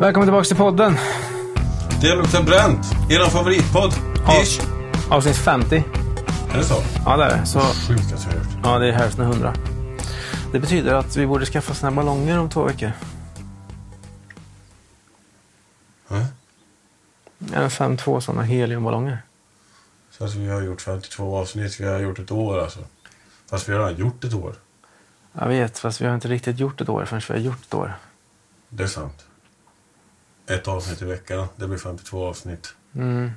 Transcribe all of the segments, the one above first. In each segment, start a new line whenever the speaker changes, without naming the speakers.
Välkommen tillbaka till podden.
Det är lukten bränt. Eran favoritpodd.
Ja.
Ish.
Avsnitt 50.
Är det så?
Ja, det är det. Så,
Sjukt att jag har hört.
ja, det är hälften av 100. Det betyder att vi borde skaffa såna här ballonger om två veckor.
Ja.
En fem, två sådana heliumballonger.
Så alltså, vi har gjort 52 avsnitt. Vi har gjort ett år alltså. Fast vi har redan gjort ett år.
Jag vet, fast vi har inte riktigt gjort ett år förrän vi har gjort ett år.
Det är sant. Ett avsnitt i veckan. Det blir 52 avsnitt.
Mm.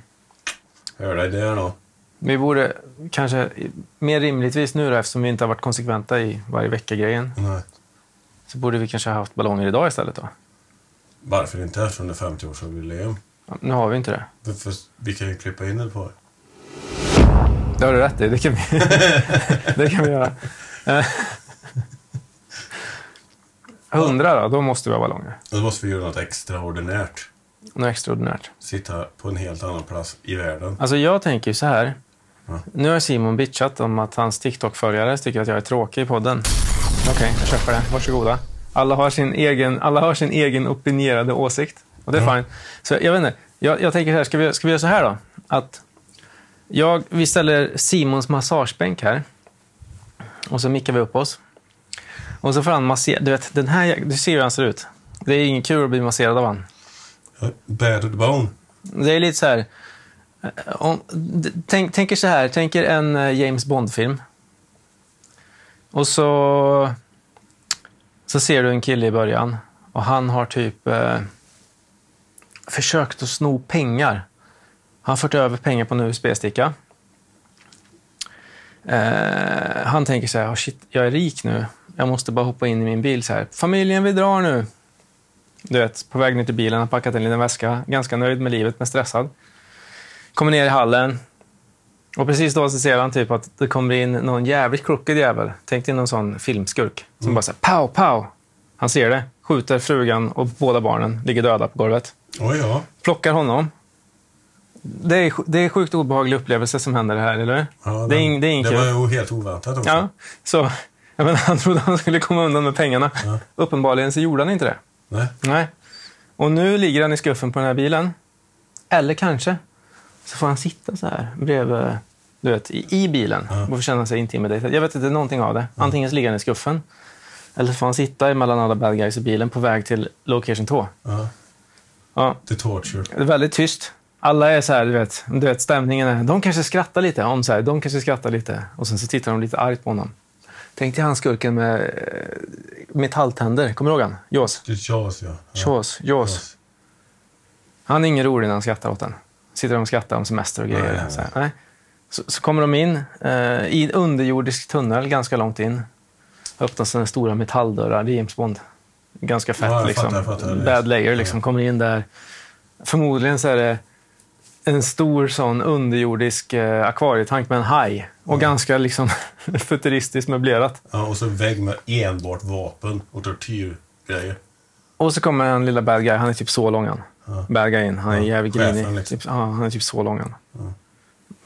Hör dig där då.
Vi borde kanske, i- mer rimligtvis nu då, eftersom vi inte har varit konsekventa i varje vecka-grejen,
Nej.
så borde vi kanske ha haft ballonger idag istället då.
Varför inte eftersom det är 50-årsjubileum?
Ja, Nu har vi inte det.
För- för Vi kan ju klippa in det på det.
Det har du rätt i, det kan vi, det kan vi göra. Eh, 100 då, då måste vi ha ballonger.
Då måste vi göra något extraordinärt.
Något extraordinärt.
Sitta på en helt annan plats i världen.
Alltså jag tänker ju så här.
Ja.
Nu har Simon bitchat om att hans TikTok-följare tycker att jag är tråkig i podden. Okej, jag köper det. Varsågoda. Alla har sin egen, alla har sin egen opinierade åsikt. Och det är
Ja.
fine. Så jag vet inte. Jag, jag tänker så här, ska vi, ska vi göra så här då? Att jag, vi ställer Simons massagebänk här. Och så mickar vi upp oss. Och så får han massera. Du vet, den här, jä- du ser hur han ser ut. Det är ingen kul att bli masserad av han.
Battered bone.
Det är lite så här... eh, Om, d- tänk, tänker så här, tänker en eh, James Bond-film. Och så, så ser du en kille i början och han har typ eh, försökt att sno pengar. Han har fört över pengar på en USB-sticka. Eh, han tänker så här, "Ah, shit, jag är rik nu. Jag måste bara hoppa in i min bil så här. Familjen, vi drar nu. Du vet, på väg ner till bilen, har packat en liten väska. Ganska nöjd med livet, men stressad. Kommer ner i hallen. Och precis då så ser han typ att det kommer in någon jävligt crooked jävel. Tänk dig någon sån filmskurk. Som
Mm.
bara säger pow, pow. Han ser det. Skjuter frugan och båda barnen ligger döda på golvet
Oj, ja.
plockar honom. Det är, sj- det är en sjukt obehaglig upplevelse som händer här, eller
ja
Det är
den-
ing- det är ingen
Det
kul.
var ju helt oväntat också.
Ja, så. Jag menar, han trodde han skulle komma undan med pengarna.
Ja.
Uppenbarligen så gjorde han inte det.
Nej.
Nej. Och nu ligger han i skuffen på den här bilen. Eller kanske så får han sitta så här bredvid, du vet, i, i bilen
Ja.
och får känna sig intimidated. Jag vet inte, någonting av det. Antingen så ligger han i skuffen eller så får han sitta mellan alla bad guys i bilen på väg till location 2.
Ja.
Ja,
The torture.
Det är väldigt tyst. Alla är så här, du vet, du vet stämningen är, de kanske skrattar lite, om så här, de kanske skrattar lite. Och sen så tittar de lite argt på honom. Tänk dig han skurken med eh, metalltänder, kommer du ihåg han? Jaws.
Det är Jaws, ja. ja.
Jaws, Jaws.
Jaws.
Han är ingen rolig när han skrattar åt den. Sitter de och skrattar om semester och grejer.
Nej, nej,
Så, här, nej. Så, så kommer de in eh, i en underjordisk tunnel ganska långt in. Öppnas den stora metalldörrar, det är James Bond. Ganska fett
Ja, jag
liksom.
fattar, jag fattar.
Bad layer liksom, kommer in där. Förmodligen så är det en stor sån underjordisk eh, akvarietank med en haj. Och ganska liksom futuristiskt möblerat.
Ja, och så en vägg med enbart vapen och tortyrgrejer.
Och så kommer en lilla bad guy. Han är typ så lång han.
Ja.
Bad guy in. Han är
Ja,
jävligt
chefen,
grinig.
liksom.
Typ, ja, han är typ så lång han.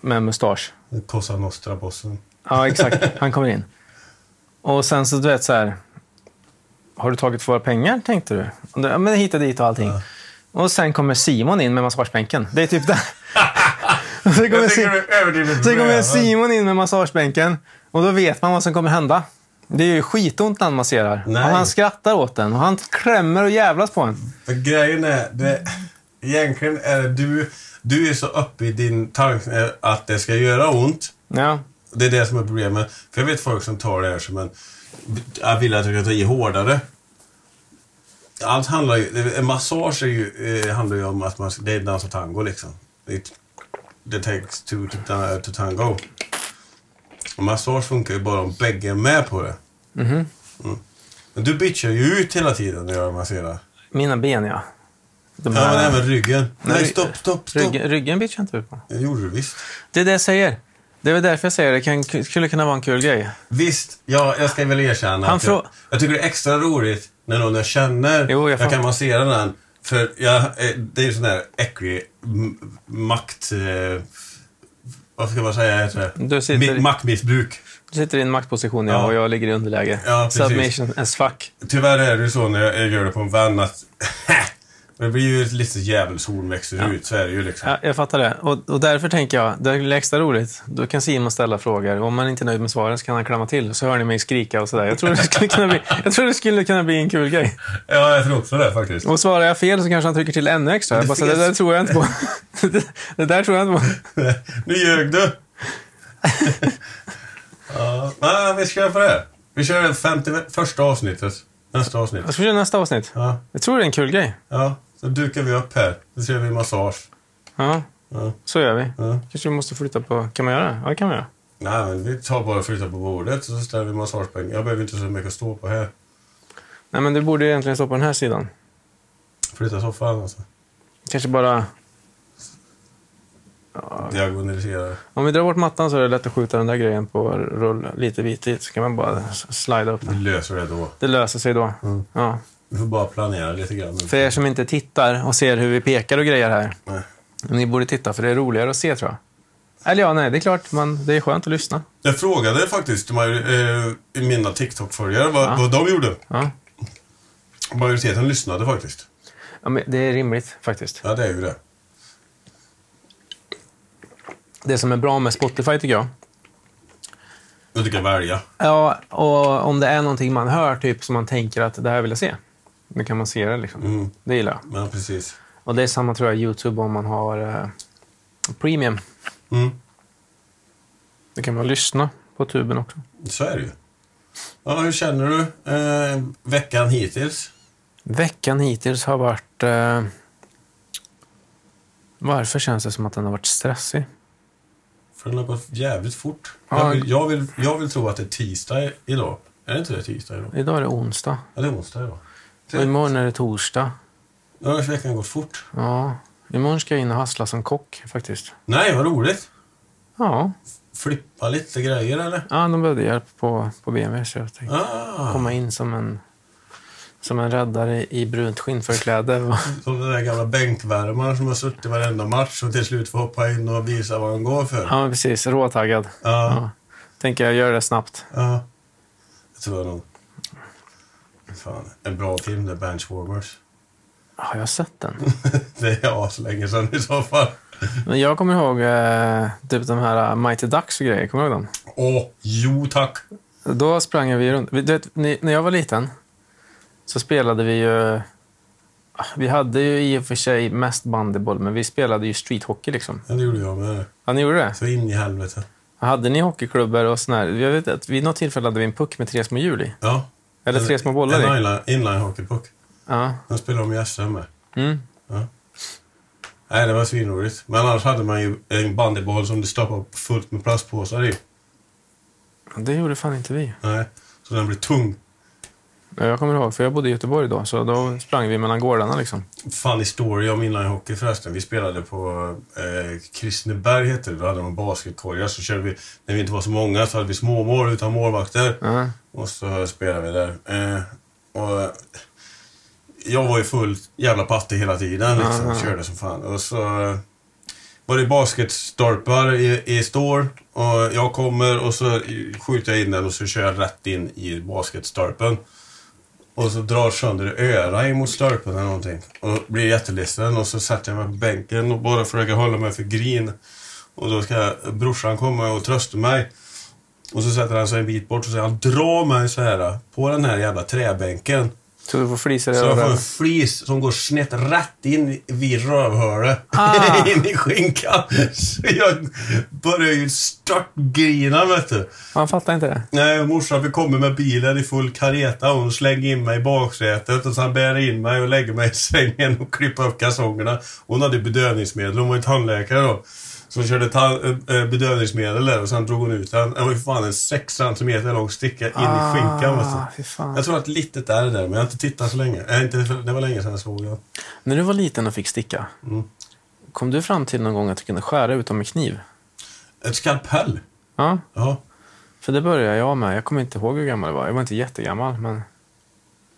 Med mustasch.
Cosa Nostra-bossen.
Ja, exakt. Han kommer in. Och sen så, du vet så här. Har du tagit våra pengar, tänkte du? Och då, Ja, men hit och dit och allting. Och sen kommer Simon in med massagebänken. Det är typ där. Och sen kommer, Sim-
det är överdrivet
sen kommer Simon in med massagebänken. Och då vet man vad som kommer hända. Det är ju skitont när han masserar.
Nej.
Och han skrattar åt den. Och han klämmer och jävlas på en.
För grejen är, det, egentligen är det du, du är så uppe i din tanke att det ska göra ont.
Ja.
Det är det som är problemet. För jag vet folk som tar det här som en... Jag vill att jag ska ta i hårdare. Allt handlar ju... En massage är ju, eh, handlar ju om att man... Det är dans och tango liksom. It, det takes two to, ta- to tango. Och massage funkar ju bara om bägge är med på det. Mm. Men du bitchar ju ut hela tiden när jag masserar.
Mina ben, ja. De
Ja,
här-
men även ryggen. Nej,
ry-
stopp, stopp, stopp.
Ryggen, ryggen bitchar inte du på.
Det gjorde du visst.
Det är det jag säger. Det är väl därför jag säger det. Kan, skulle kunna vara en kul grej.
Visst, ja, jag ska väl erkänna
Han
att jag,
frå-
jag tycker det är extra roligt när någon jag känner,
Jo, jag
jag,
fa-
kan massera den. För jag, eh, det är ju sån där äcklig m- makt... Eh, vad ska man säga? Heter det?
Du sitter-
Mi- maktmissbruk.
Du sitter i en maktposition ja,
Ja.
och jag ligger i underläge.
Ja, precis.
Submission as fuck.
Tyvärr är det ju så när jag jag gör det på en vän att Men det blir ju ett litet djävulshorn växer
Ja.
ut, så är det ju liksom.
Ja, jag fattar det. Och, och därför tänker jag, det är extra roligt. Då kan Simon ställa frågor. Om man inte är nöjd med svaren så kan han klämma till. Så hör ni mig skrika och sådär. Jag tror det skulle kunna bli, jag tror det skulle kunna bli en kul grej.
Ja, jag tror också det faktiskt.
Och svarar jag fel så kanske han trycker till ännu extra. Jag bara, så, det där tror jag inte på. Det, det där tror jag inte på.
nu ljög du! ja, nej, vi ska göra på det. här. Vi kör det 50, första avsnittet. Nästa avsnitt.
Jag ska köra nästa avsnitt.
Ja,
Jag tror det är en kul grej.
ja. Så dukar vi upp här. Så ser vi massage.
Ja,
Ja,
så gör vi.
ja.
Kanske vi måste flytta på... Kan man göra det? Ja, det kan man göra.
Nej, men vi tar bara och flyttar på bordet och så ställer vi massagebänken. Jag behöver inte så mycket att stå på här.
Nej, men du borde egentligen stå på den här sidan.
Flytta soffan alltså.
Kanske bara...
Diagonalisera.
Om vi drar bort mattan så är det lätt att skjuta den där grejen på rull lite bit dit. Så kan man bara s- slida upp
Vi
den.
löser det då.
Det löser sig då.
Mm.
Ja.
Vi får bara planera lite grann.
För er som inte tittar och ser hur vi pekar och grejer här.
Nej.
Ni borde titta, för det är roligare att se tror jag. Eller ja, nej, det är klart. Man, det är skönt att lyssna.
Jag frågade faktiskt major- eh, mina TikTok-följare vad,
Ja.
vad de gjorde.
Ja.
Majoriteten lyssnade faktiskt.
Ja, men det är rimligt faktiskt.
Ja, det är ju det.
Det som är bra med Spotify tycker jag.
Och du kan välja.
Ja, och om det är någonting man hör typ som man tänker att det här vill jag se. Då kan man se det liksom.
Mm.
Det gillar jag.
Ja, precis.
Och det är samma tror jag YouTube om man har eh, premium.
Mm.
Då kan man lyssna på tuben också.
Så är det ju. Ja, hur känner du eh, veckan hittills?
Veckan hittills har varit... Eh, varför känns det som att den har varit stressig?
För den har gått jävligt fort.
Ja.
Jag, vill, jag, vill, jag vill tro att det är tisdag i- idag. Är det inte det tisdag idag?
Idag är det onsdag.
Ja, det är onsdag idag.
Och imorgon är det torsdag.
Annars veckan har gått fort.
Ja. Imorgon ska jag in och hassla som kock faktiskt.
Nej, vad roligt!
Ja,
Flippa lite grejer eller?
ja de behövde hjälp på, på BMW så jag tänkte
Ah,
komma in som en, som en räddare i brunt skinnförkläde.
som den där gamla bänkvärmaren som har suttit varenda match och till slut får hoppa in och visa vad han går för.
Ja, men precis. Råtaggad.
Ja,
Ja. Tänker jag gör det snabbt.
ja. Det tror jag nog. Fan, en bra film, The Benchwarmers.
Har jag sett den?
Det är aslänge sedan i så fall.
Men jag kommer ihåg eh, typ de här Mighty Ducks och grejer. Kommer du ihåg dem?
Åh, jo tack!
Då sprang vi runt. Vi- Du vet, ni- när jag var liten så spelade vi ju... ah, Vi hade ju i och för sig mest bandyboll, men vi spelade ju streethockey liksom.
Ja, det gjorde jag med.
Ja, ni gjorde det?
Så in i helvete.
Hade ni hockeyklubbor och sån här? Jag vet att vid något tillfälle hade vi en puck med tre små hjul i.
Ja.
Eller tre små bollar
En
i.
inline, inline hockeypuck.
Ja.
Den spelade de i SM med.
Mm.
Nej, det var svinroligt. Men annars hade man ju en bandyboll som det stoppade fullt med plastpåsar i.
Det gjorde fan inte vi.
Nej, så den blev tung.
Ja, Jag kommer ihåg, för jag bodde i Göteborg då, så då sprang vi mellan gårdarna liksom.
Funny story om inlinehockey förresten. Vi spelade på eh, Kristineberg hette det. Då hade de basketkorgar. Så körde vi, när vi inte var så många så hade vi småmål utan målvakter.
Ja.
Och så spelade vi där. Eh, och eh, jag var ju full jävla patte hela tiden. Liksom,
Aha.
Körde som fan. Och så eh, var det basketstolpar i, i står. Och jag kommer och så skjuter jag in den och så kör jag rätt in i basketstolpen. Och så drar sönder öra emot stolpen eller någonting. Och blir jätteledsen och så sätter jag mig på bänken och bara försöker hålla mig för grin. Och då ska brorsan komma och trösta mig. Och så sätter han sig en bit bort och säger han drar mig så här på den här jävla träbänken.
Så du får flisa dig
Så jag får en
över.
flis som går snett rätt in vid rövhålet.
Ah.
in i skinkan. Så jag börjar ju störtgrina vet du.
Man fattar inte det.
Nej, morsan vi kommer med bilen i full kareta. Hon slänger in mig i baksätet och sen bär in mig och lägger mig i sängen och klipper upp kalsongerna. Hon hade bedövningsmedel. Hon var ju tandläkare då. Så hon körde ta- eh, bedövningsmedel där och sen drog hon ut den. Den var ju fan en 6 centimeter lång sticka in i skinkan. vet
Ah, fy
du.
fan.
Jag tror att litet är det där, men jag har inte tittat så länge. Äh, inte, det var länge sedan jag såg det.
När du var liten och fick sticka,
Mm.
kom du fram till någon gång att du kunde skära ut dem med kniv?
Ett skalpell.
Ja,
Ja.
för det började jag med. Jag kommer inte ihåg hur gammal jag var. Jag var inte jättegammal, men...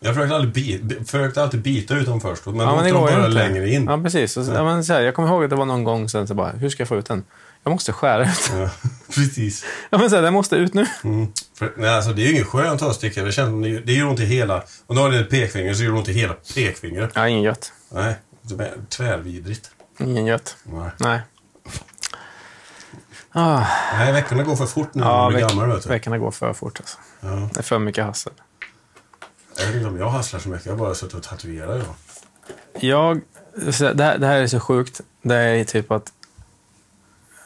Jag försökte alltid, bi- bi- försökte alltid bita ut dem först, men
ja,
då
men
åkte de bara längre in.
Ja, precis. Och så, ja. men så här, jag kommer ihåg att det var någon gång sen så bara, hur ska jag få ut den? Jag måste skära ut den.
Ja, precis.
Ja, men så här, den måste ut nu.
Mm. För, nej, alltså det är ju ingen skön tösticka. Det, känns, som det, det gör ont i hela... Och nu har du ett pekfinger så gör det ont i hela pekfingret.
Ja, ingen gött.
Nej, det är tvärvidrigt.
Ingen gött.
Nej.
Nej. Ah,
nej, veckorna går för fort nu när
ja,
man blir
veck-
gammal. Vet du.
veckorna går för fort alltså.
Ja.
Det är för mycket hassel.
Jag vet inte om jag hasslar så mycket. Jag har bara suttit och tatuerat idag.
Jag, så det, här, det här är så sjukt. Det är typ att...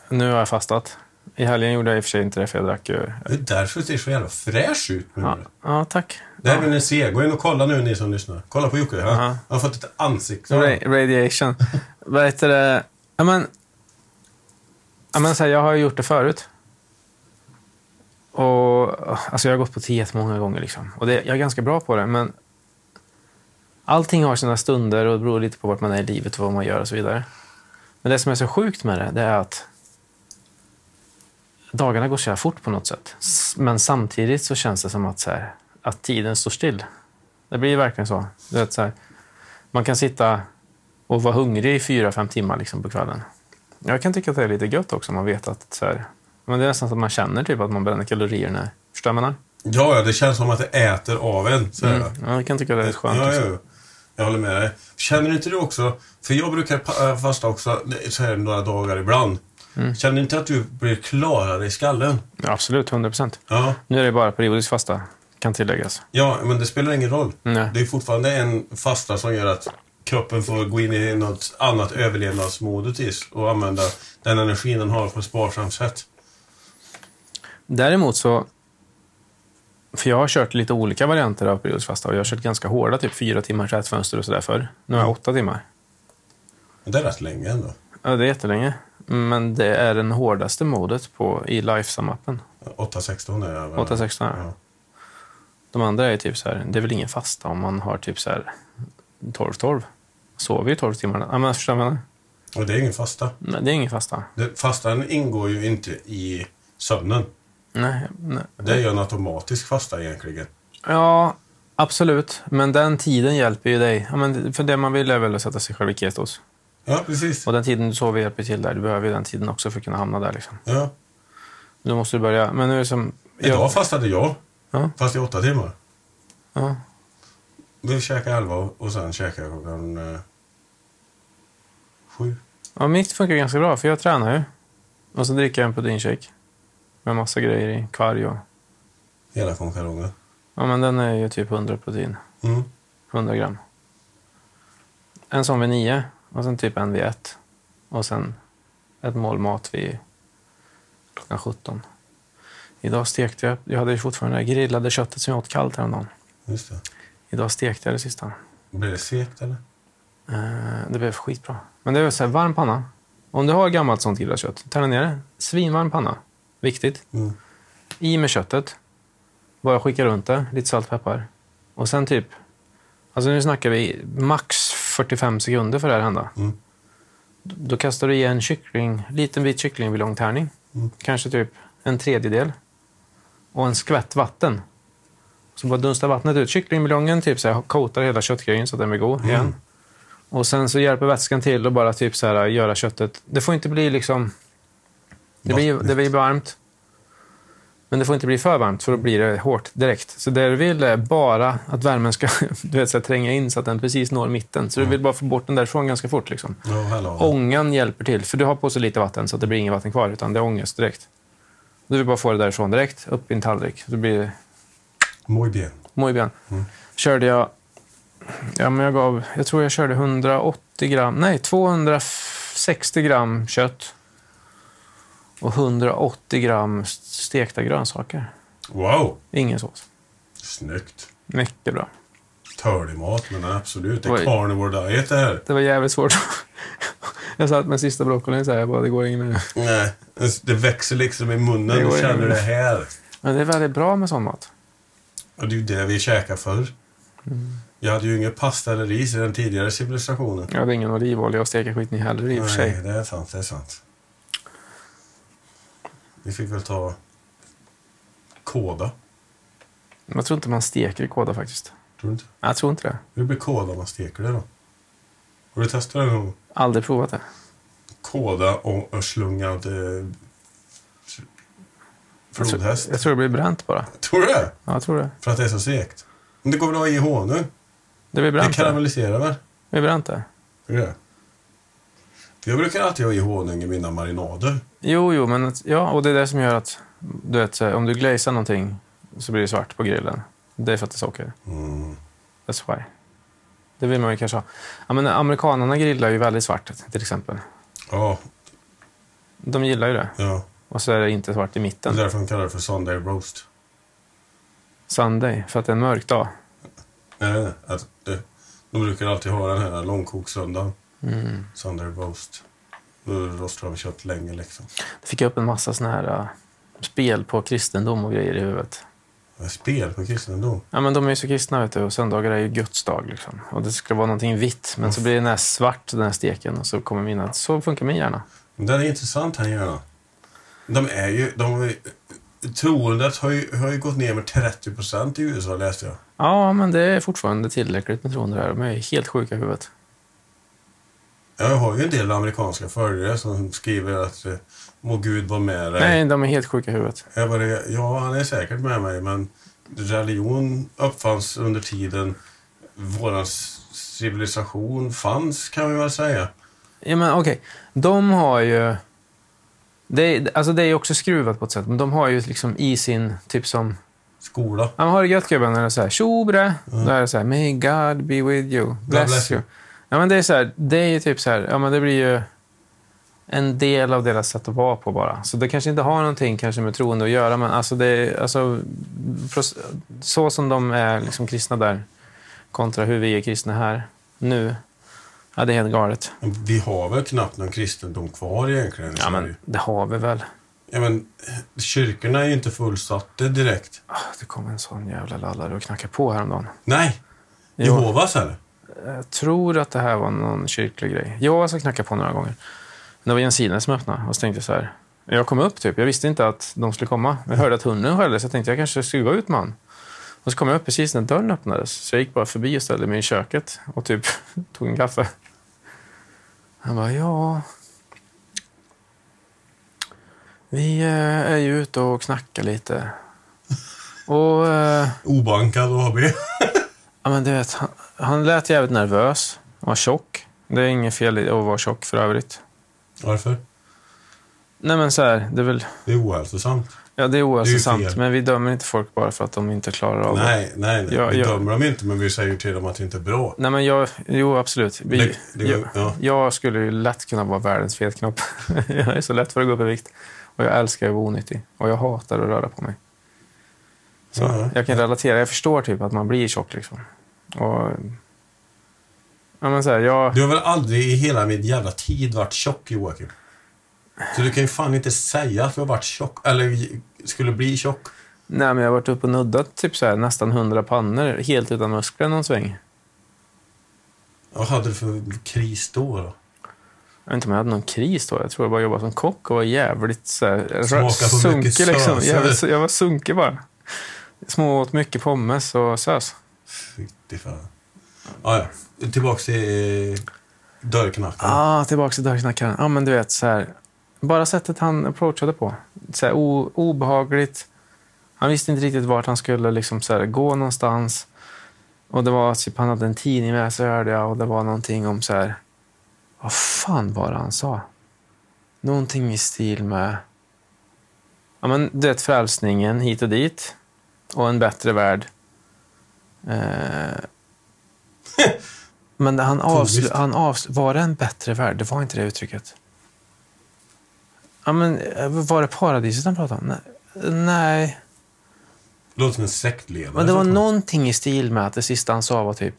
Nu har jag fastat. I helgen gjorde jag i och för sig inte det, för jag drack ju...
Det är därför det ser så jävla fräsch ut nu.
Ja, ja tack.
Det här vill ni se. Gå in och kolla nu ni som lyssnar. Kolla på Jocke. Han han har fått ett ansikte.
Ra- Radiation. Vad heter det? Ja, men, ja, men så här, jag har ju gjort det förut. Och, alltså, jag har gått på diet många gånger. Liksom. Och det, jag är ganska bra på det, men allting har sina stunder och det beror lite på vart man är i livet och vad man gör och så vidare. Men det som är så sjukt med det, det är att dagarna går så jävla fort på något sätt. S- Men samtidigt så känns det som att, så här, att tiden står still. Det blir verkligen så. Du vet, så här, man kan sitta och vara hungrig i fyra, fem timmar liksom på kvällen. Jag kan tycka att det är lite gött också om man vet att så här, men det är nästan så att man känner typ att man bränner kalorier när... Förstår du vad jag menar? Mm.
Ja, ja, det känns som att det äter av en. Så här, va?
Ja, jag kan tycka det är skönt.
Ja,
också.
ja, ja. Jag håller med dig. Känner inte du också, för jag brukar pa- äh, fasta också så här några dagar ibland.
Mm.
Känner inte att du blir klarare i skallen?
Ja, absolut, 100 procent.
Ja,
Nu är det bara periodiskt fasta, kan tilläggas. Mm,
ja men det spelar ingen roll.
Nej.
Det är fortfarande en fasta som gör att kroppen får gå in i något annat överlevnadsmodus och använda den energin den har på ett sparsamt sätt.
Däremot så... För jag har kört lite olika varianter av periodiskt fasta och jag har kört ganska hårda, typ fyra timmars ätfönster och sådär förr. Nu har jag åtta timmar.
Men det är rätt länge ändå.
Ja, det är jättelänge. Men det är den hårdaste modet på, i Lifesum-appen.
8-16 är jag.
8-16 är det.
Ja.
De andra är typ så här, det är väl ingen fasta om man har typ så här 12-12. Sover ju 12 timmar. Ja, men förstår du vad jag menar?
Och det är ingen fasta.
Nej, det är ingen fasta.
Det- Fastan ingår ju inte i sömnen.
Nej, nej.
Det är ju en automatisk fasta egentligen.
Ja, absolut. Men den tiden hjälper ju dig. Ja, men för det man vill är väl att sätta sig själv i ketos.
Ja, precis.
Och den tiden du sover hjälper till där. Du behöver ju den tiden också för att kunna hamna där. Liksom.
Ja.
Då måste du börja. Men nu är det som...
Idag
Jag,
fastade jag.
Ja.
Fast i åtta timmar.
ja,
Vi käkade elva och sen käkade jag klockan eh, sju.
ja, mitt funkar ganska bra, för jag tränar ju. Och så dricker jag en proteinshake med massa grejer i. Kvarg och...
Hela konkarongen.
Ja, men den är ju typ 100 protein.
Mm.
100 gram. En sån vid nio och sen typ en vid ett. Och sen ett mål mat vid klockan 17. Idag stekte jag, jag hade ju fortfarande det här grillade köttet som jag åt kallt häromdagen.
Just det.
Idag stekte jag det sista.
Blir det segt eller?
Eh, det blev skitbra. Men det är väl så här, varm panna. Om du har gammalt sånt grillat kött, tärna ner det. Svinvarm panna. Viktigt.
Mm.
I med köttet. Bara skicka runt det. Lite salt och peppar. Och sen typ... Alltså nu snackar vi max 45 sekunder för det här att hända.
Mm.
D- Då kastar du i en kyckling, liten bit kyckling vid lång tärning. Kanske typ en tredjedel. Och en skvätt vatten. Så bara dunstar vattnet ut. Kycklingbuljong typ så här, coatar hela köttgrejen så att den blir god igen. Och sen så hjälper vätskan till och bara typ så här, göra köttet... Det får inte bli liksom... Det blir, det blir varmt. Men det får inte bli för varmt för då blir det hårt direkt. Så det du vill är bara att värmen ska du vet, så här, tränga in så att den precis når mitten. Så du vill bara få bort den därifrån ganska fort. Liksom.
Ja, hallå.
Ångan hjälper till, för du har på så lite vatten så att det blir inget vatten kvar, utan det är ångest direkt. Du vill bara få det därifrån direkt, upp i en tallrik. Då blir det
Muy bien.
muy bien. Körde jag... Ja, men jag, gav, jag tror jag körde 180 gram... Nej, 260 gram kött och 180 gram stekta grönsaker.
Wow!
Ingen sås.
Snyggt.
Mycket bra.
Törlig mat, men absolut. Det är
Oj.
carnivore diet det här.
Det var jävligt svårt. Jag satt med sista broccolin så här, jag bara, det går inget mer.
Nej. Det växer liksom i munnen.
Det går
Du känner
in.
det här.
Men det är väldigt bra med sån mat.
Och det är ju det vi käkar förr. Mm. Jag hade ju ingen pasta eller ris i den tidigare civilisationen.
Jag hade ingen olivolja att steka skiten i heller i och för sig.
Nej, det är sant. Det är sant. Vi fick väl ta kåda.
Men Jag tror inte man steker i kåda faktiskt.
Tror du inte?
Nej, Jag tror inte det.
Hur blir kåda om man steker det då? Har du testat det någon
Aldrig provat det.
Kåda och och slungad eh,
Alltså,
Flodhäst.
Jag tror det blir bränt bara.
Tror du det?
Ja, jag tror det.
För att det är så segt? Men det går väl att ha i honung?
Det blir
Det
bränt det.
karamelliserar väl?
Det blir bränt det.
Hur är det? Jag brukar alltid ha i honung i mina marinader.
Jo, jo, men att- ja, och det är det som gör att du vet, så här, om du glazar någonting så blir det svart på grillen. Det är för att det är socker.
Mm.
That's why. Det vill man ju kanske ha. Ja, men amerikanerna grillar ju väldigt svart till exempel.
Ja,
De gillar ju det.
ja.
Och så är det inte svart i
Det är
mitten.
därför de kallar det för Sunday roast.
Sunday, för att det är en mörk dag.
Nej, nej, nej. Att det, de brukar alltid ha den här långkoksrundan.
Mm.
Sunday roast. Då rostar de kött länge liksom.
Då fick jag upp en massa såna här äh, spel på kristendom och grejer i huvudet.
Det är Spel på kristendom.
Ja, men de är ju så kristna vet du, och söndagar är ju Guds dag. Liksom. Och det skulle vara någonting vitt, men så blir det den här svart, den här steken, och så kommer mina... Så funkar min hjärna.
Men Den är intressant här gärna. De är ju... De är, troendet har ju, har ju gått ner med 30 procent i USA läste jag.
Ja, men det är fortfarande tillräckligt med troende där. De är helt sjuka i huvudet.
Jag har ju en del amerikanska följare som skriver att eh, må Gud vara med dig.
Nej, de är helt sjuka i huvudet.
Jag bara, ja, han är säkert med mig, men religion uppfanns under tiden vår civilisation fanns, kan vi väl säga.
Ja, men okej. De har ju... Det är, alltså det är ju också skruvat på ett sätt, men de har ju liksom i sin, typ som...
Skola.
Ja, men har det gött gubben, när det är så här, tjo bre.
Mm.
Då är det så här, may God be with you. Bless,
bless
you.
you.
Ja, men det är så här, det är ju typ så här, ja men det blir ju en del av deras sätt att vara på bara. Så det kanske inte har någonting kanske med troende att göra, men alltså det är, alltså, pros- så som de är liksom kristna där kontra hur vi är kristna här nu. Ja, det är helt galet.
Vi har väl knappt någon kristendom kvar egentligen i
Ja,
Sverige.
men det har vi väl.
ja, men kyrkorna är ju inte fullsatta direkt.
Ah, Det kom en sån jävla lallare och knackade på häromdagen.
Nej,
Jo,
Jehovas eller?
jag Eh, tror att det här var någon kyrklig grej. Jag har alltså knackat på några gånger. Men Det var Jens Sine som öppnade och så tänkte jag så här. Jag kom upp typ. Jag visste inte att de skulle komma. Jag hörde att hunden skällde så jag tänkte jag kanske skulle gå ut med han. Och så kom jag upp precis när dörren öppnades. Så jag gick bara förbi och ställde mig i köket och typ tog en kaffe. Han bara, ja... Vi eh, är ju ute och knackar lite. Och... Eh,
Obankad AB.
Ja, men du vet, han, han lät jävligt nervös. Han var tjock. Det är inget fel i att vara tjock för övrigt.
Varför?
Nej, men så här, det är väl...
Det är ohälsosamt.
Ja, det är
Det är ju
ohälsosamt,
fel.
men vi dömer inte folk bara för att de inte klarar av det.
Nej, nej, nej.
Ja,
vi
ja.
dömer dem inte, men vi säger till dem att det inte är bra.
Nej, men jag... Jo, absolut. Vi,
Det- det-
jag,
ja.
jag skulle ju lätt kunna vara världens fetknopp. jag är så lätt för att gå upp i vikt. Och jag älskar att vara onyttig. Och jag hatar att röra på mig. Så
Ja.
jag kan relatera. Jag förstår typ att man blir tjock liksom. Och... Ja, men så här, jag...
Du har väl aldrig i hela min jävla tid varit tjock, Joakim? Så du kan ju fan inte säga att du har varit tjock, eller skulle bli tjock.
Nej, men jag har varit uppe och nuddat typ så här, nästan 100 pannor helt utan muskler någon sväng.
Vad hade du för kris då? då?
Jag vet inte om jag hade någon kris då. Jag tror jag bara jobbade som kock och var jävligt så här, rö-
Smaka på mycket sös,
liksom.
eller?
Jävligt, jag var sunkig bara. Små åt mycket pommes och sös.
Fy fan. Ah, ja. Tillbaks till eh, dörrknackaren.
Ah, tillbaka till dörrknackaren. Ja, ah, men du vet så här. Bara sättet han approachade på. Så här, o- obehagligt. Han visste inte riktigt vart han skulle liksom, så här, gå någonstans. Och det var typ, han hade en tidning med sig hörde jag och det var någonting om så här. Vad fan var det han sa? Någonting i stil med. Ja, men du vet frälsningen hit och dit. Och en bättre värld. Eh... Men han avslu-
Komiskt.
han avslu- var det en bättre värld? Det var inte det uttrycket. Ja, men, eh, var det paradiset han pratade om? Nej. Nej.
Låter som en sektledare.
Men det var
Så-
någonting i stil med att det sista han sa var typ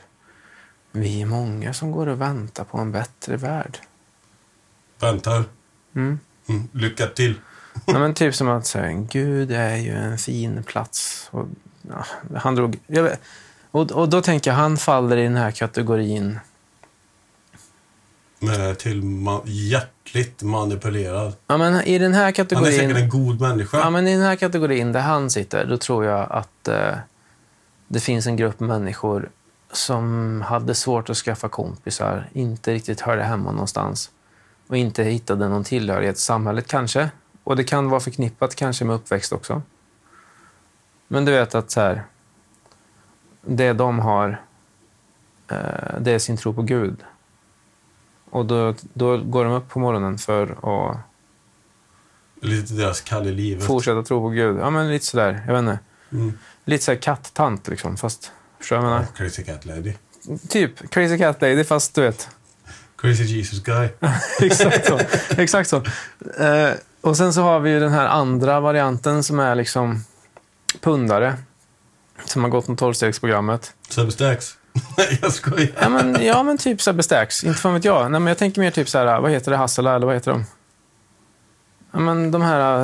Vi är många som går och väntar på en bättre värld.
Väntar.
Mm.
Mm. Lycka till.
Ja, men typ som att säga, Gud är ju en fin plats. Och, ja, han drog... Jag vet, och, och då tänker jag, han faller i den här kategorin.
Med, till ma- hjärtligt manipulerad.
Ja, men i den här
Han är
kategorin...
säkert en god människa.
Ja, men i den här kategorin där han sitter, då tror jag att eh, det finns en grupp människor som hade svårt att skaffa kompisar, inte riktigt hörde hemma någonstans och inte hittade någon tillhörighet i samhället kanske. Och Och det kan vara förknippat kanske med uppväxt också. Men du vet att så här, det de har, eh, det är sin tro på Gud. Och då, då går de upp på morgonen för att
Lite deras kall i livet.
fortsätta tro på Gud. Ja, men lite sådär, jag vet inte.
Mm.
Lite såhär kattant liksom, fast... Förstår du vad jag menar?
Ja, Crazy Cat Lady.
Typ Crazy Cat Lady, fast du vet.
Crazy Jesus Guy.
Exakt så. Exakt så. Eh, och sen så har vi ju den här andra varianten som är liksom pundare. Som har gått med tolvstegsprogrammet.
Substacks. Nej, jag skojar.
Ja men, ja, men typ så här bestacks. Inte fan vet jag. Nej, men jag tänker mer typ så här, vad heter det, Hassela eller vad heter de? Ja, men de här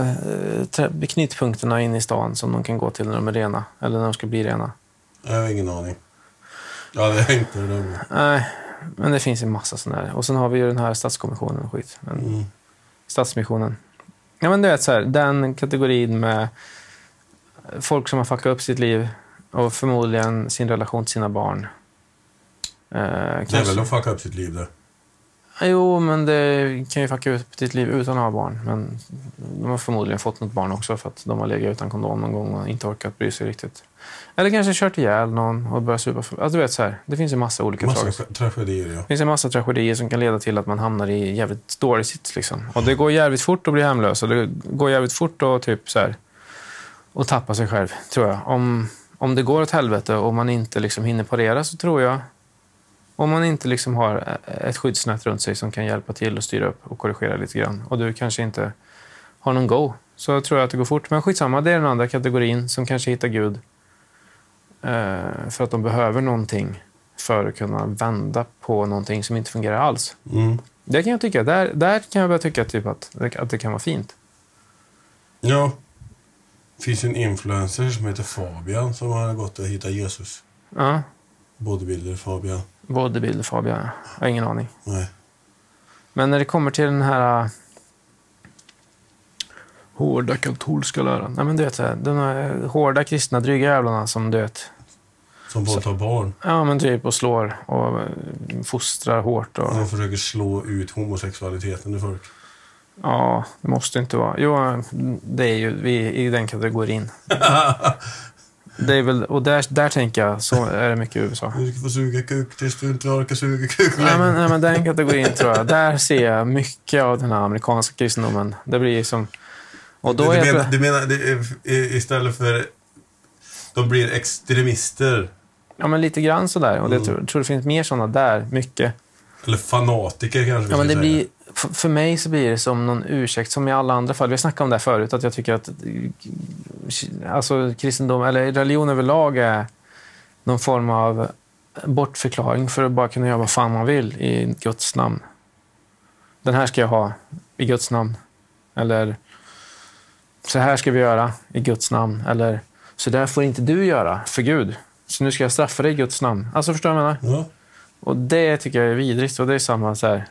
eh, trä- knutpunkterna inne i stan som de kan gå till när de är rena. Eller när de ska bli rena.
Jag har ingen aning. Ja, det är inte det. där.
Nej, men det finns en massa sådana här. Och sen har vi ju den här statskommissionen och skit. Men
Mm.
Stadsmissionen. Ja, men du vet, så här, den kategorin med folk som har fuckat upp sitt liv och förmodligen sin relation till sina barn. Eh,
Det är väl
kanske-
att fucka upp sitt liv där.
Jo, men det kan ju fucka upp ditt liv utan att ha barn. Men de har förmodligen fått något barn också för att de har legat utan kondom någon gång och inte orkat bry sig riktigt. Eller kanske kört ihjäl någon och börjat supa. För... Alltså, du vet, så här, det finns ju massa olika saker.
Massa tragedier, ja.
Det finns en massa tragedier som kan leda till att man hamnar i jävligt dålig sits. Liksom. Och det går jävligt fort att bli hemlös och det går jävligt fort att typ, så här, och tappa sig själv, tror jag. Om, om det går åt helvete och man inte liksom, hinner parera så tror jag... Om man inte liksom, har ett skyddsnät runt sig som kan hjälpa till och styra upp och korrigera lite grann och du kanske inte har någon go, så tror jag att det går fort. Men skitsamma, det är den andra kategorin som kanske hittar Gud eh, för att de behöver någonting för att kunna vända på någonting som inte fungerar alls.
Mm.
Det kan jag tycka. Där, där kan jag börja tycka typ att, att det kan vara fint.
Ja. Det finns ju en influencer som heter Fabian som har gått och hittat Jesus.
Ja.
Bodybuilder Fabian.
Bodybuilder Fabian. Jag har ingen aning.
Nej.
Men när det kommer till den här eh, hårda katolska läran. Nej, men du vet, så här, den här hårda kristna dryga jävlarna som du vet,
Som våldtar barn.
ja men typ och slår och eh, fostrar hårt och
De försöker slå ut homosexualiteten i folk.
ja, det måste inte vara. Jo, det är ju vi i den kategorin. Det är väl, och där, där tänker jag, så är det mycket i USA.
Du ska få suga kuk tills du inte orkar suga kuk
Nej,
längre.
men, nej, men den kategorin tror jag. Där ser jag mycket av den här amerikanska kristendomen. Det blir som... Och då
du,
är
du menar,
det...
du menar det är, i- istället för... De blir extremister.
Ja, men lite grann sådär. Och det,
Mm.
tror, tror det finns mer sådana där, mycket.
Eller fanatiker kanske vi
Ja, men
ska
det
säga.
blir, f- för mig så blir det som någon ursäkt, som i alla andra fall. Vi har snackat om det här förut, att jag tycker att eh, alltså, kristendom, eller religion överlag är någon form av bortförklaring för att bara kunna göra vad fan man vill i Guds namn. Den här ska jag ha i Guds namn. Eller så här ska vi göra i Guds namn. Eller så där får inte du göra för Gud. Så nu ska jag straffa dig i Guds namn. Alltså förstår du vad jag menar?
Ja.
Och det tycker jag är vidrigt. Och det är samma så här...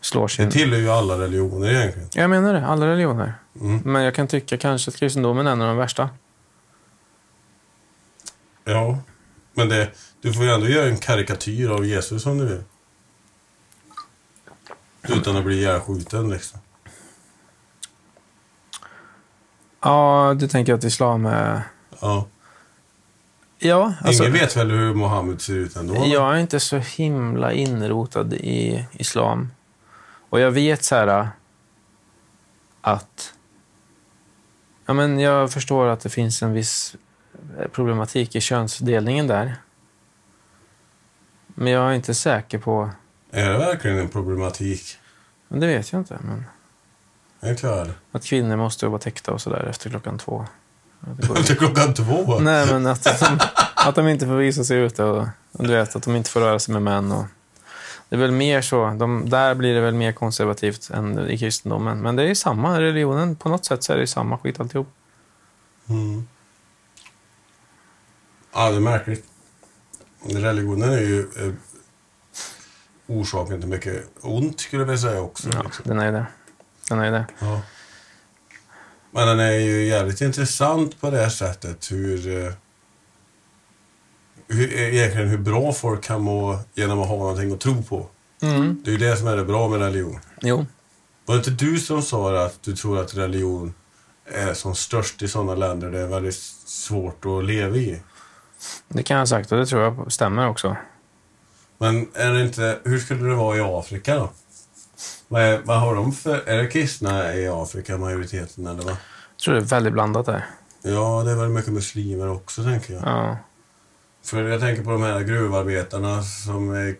Slår
Det
sin...
tillhör ju alla religioner egentligen.
Jag menar det, alla religioner.
Mm.
Men jag kan tycka kanske att kristendomen är en av de värsta.
Ja. Men det, du får ju ändå göra en karikatyr av Jesus om du vill. Utan att bli ihjälskjuten liksom.
Ja, du tänker att islam är...
Ja.
Ja, alltså...
Ingen vet väl hur Mohammed ser ut ändå? va?
Jag är inte så himla inrotad i islam. Och jag vet så här att... Ja, men jag förstår att det finns en viss problematik i könsdelningen där. Men jag är inte säker på...
Är det verkligen en problematik?
Men det vet jag inte. Men
Jag tror jag det.
att kvinnor måste vara täckta och sådär efter klockan två. Att det går-
Efter klockan två?
Nej, men att de, att de inte får visa sig ute och, och du vet, att de inte får röra sig med män. Och, det är väl mer så. De, där blir det väl mer konservativt än i kristendomen. Men det är ju samma. Religionen, på något sätt så är det ju samma skit alltihop.
Mm. Ja, det är märkligt. Religionen är ju eh, orsaken till mycket ont, skulle jag vilja säga också.
Ja,
liksom.
den är ju det. Den är ju det.
Ja. Men den är ju jävligt intressant på det här sättet hur, eh, hur eh, egentligen hur bra folk kan må genom att ha någonting att tro på.
Mm.
Det är ju det som är det bra med religion.
Jo.
Var det inte du som sa att du tror att religion är som störst i sådana länder där det är väldigt svårt att leva i?
Det kan jag ha sagt och det tror jag stämmer också.
Men är det inte, hur skulle det vara i Afrika då? Vad, är, vad har de för... Är det kristna i Afrika, majoriteten, eller vad?
Jag tror det är väldigt blandat där.
Ja, det är väl mycket muslimer också, tänker jag.
Ja.
För jag tänker på de här gruvarbetarna som är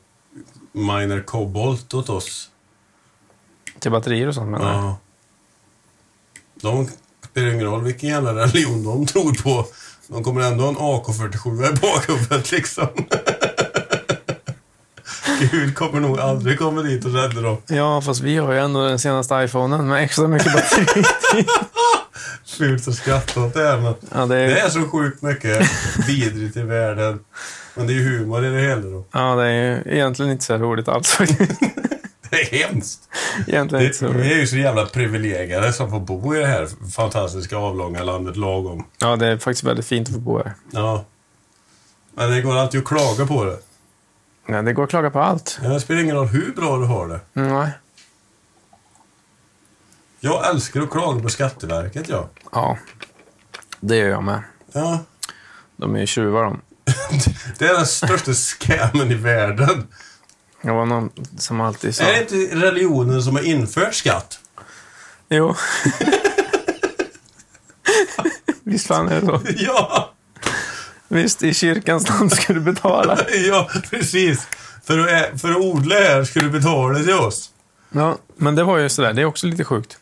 miner kobolt åt oss.
Till batterier och sånt menar jag.
Ja. De spelar ingen roll vilken jävla religion de tror på. De kommer ändå ha en AK47 i bakhuvudet liksom. Gud kommer nog aldrig komma dit och rädda dem.
Ja, fast vi har ju ändå den senaste iPhonen med extra mycket batteri.
Fult att skratta åt det här men
ja, det
det
är,
är så sjukt mycket vidrigt i världen. Men det är ju humor i det hela då.
ja, det är ju egentligen inte så roligt alls.
Det är hemskt.
egentligen inte så
Det, vi
roligt.
är ju så jävla privilegierade som får bo i det här fantastiska avlånga landet lagom.
Ja, det är faktiskt väldigt fint att få bo här.
Ja. Men det går alltid att klaga på det.
Nej, det går att klaga på allt.
Ja, Det spelar ingen roll hur bra du har det.
Mm, nej.
Jag älskar att klaga på Skatteverket, ja.
Ja, det gör jag med.
ja.
De är ju tjuvar de.
Det är den största scammen i världen.
Det var någon som alltid sa...
Är det inte religionen som har infört skatt?
Jo. Visst fan är det så?
Ja,
Visst, i kyrkans namn ska du betala.
ja precis. För att, ä- för att odla här ska du betala till oss.
Ja, men det var ju sådär. Det är också lite sjukt.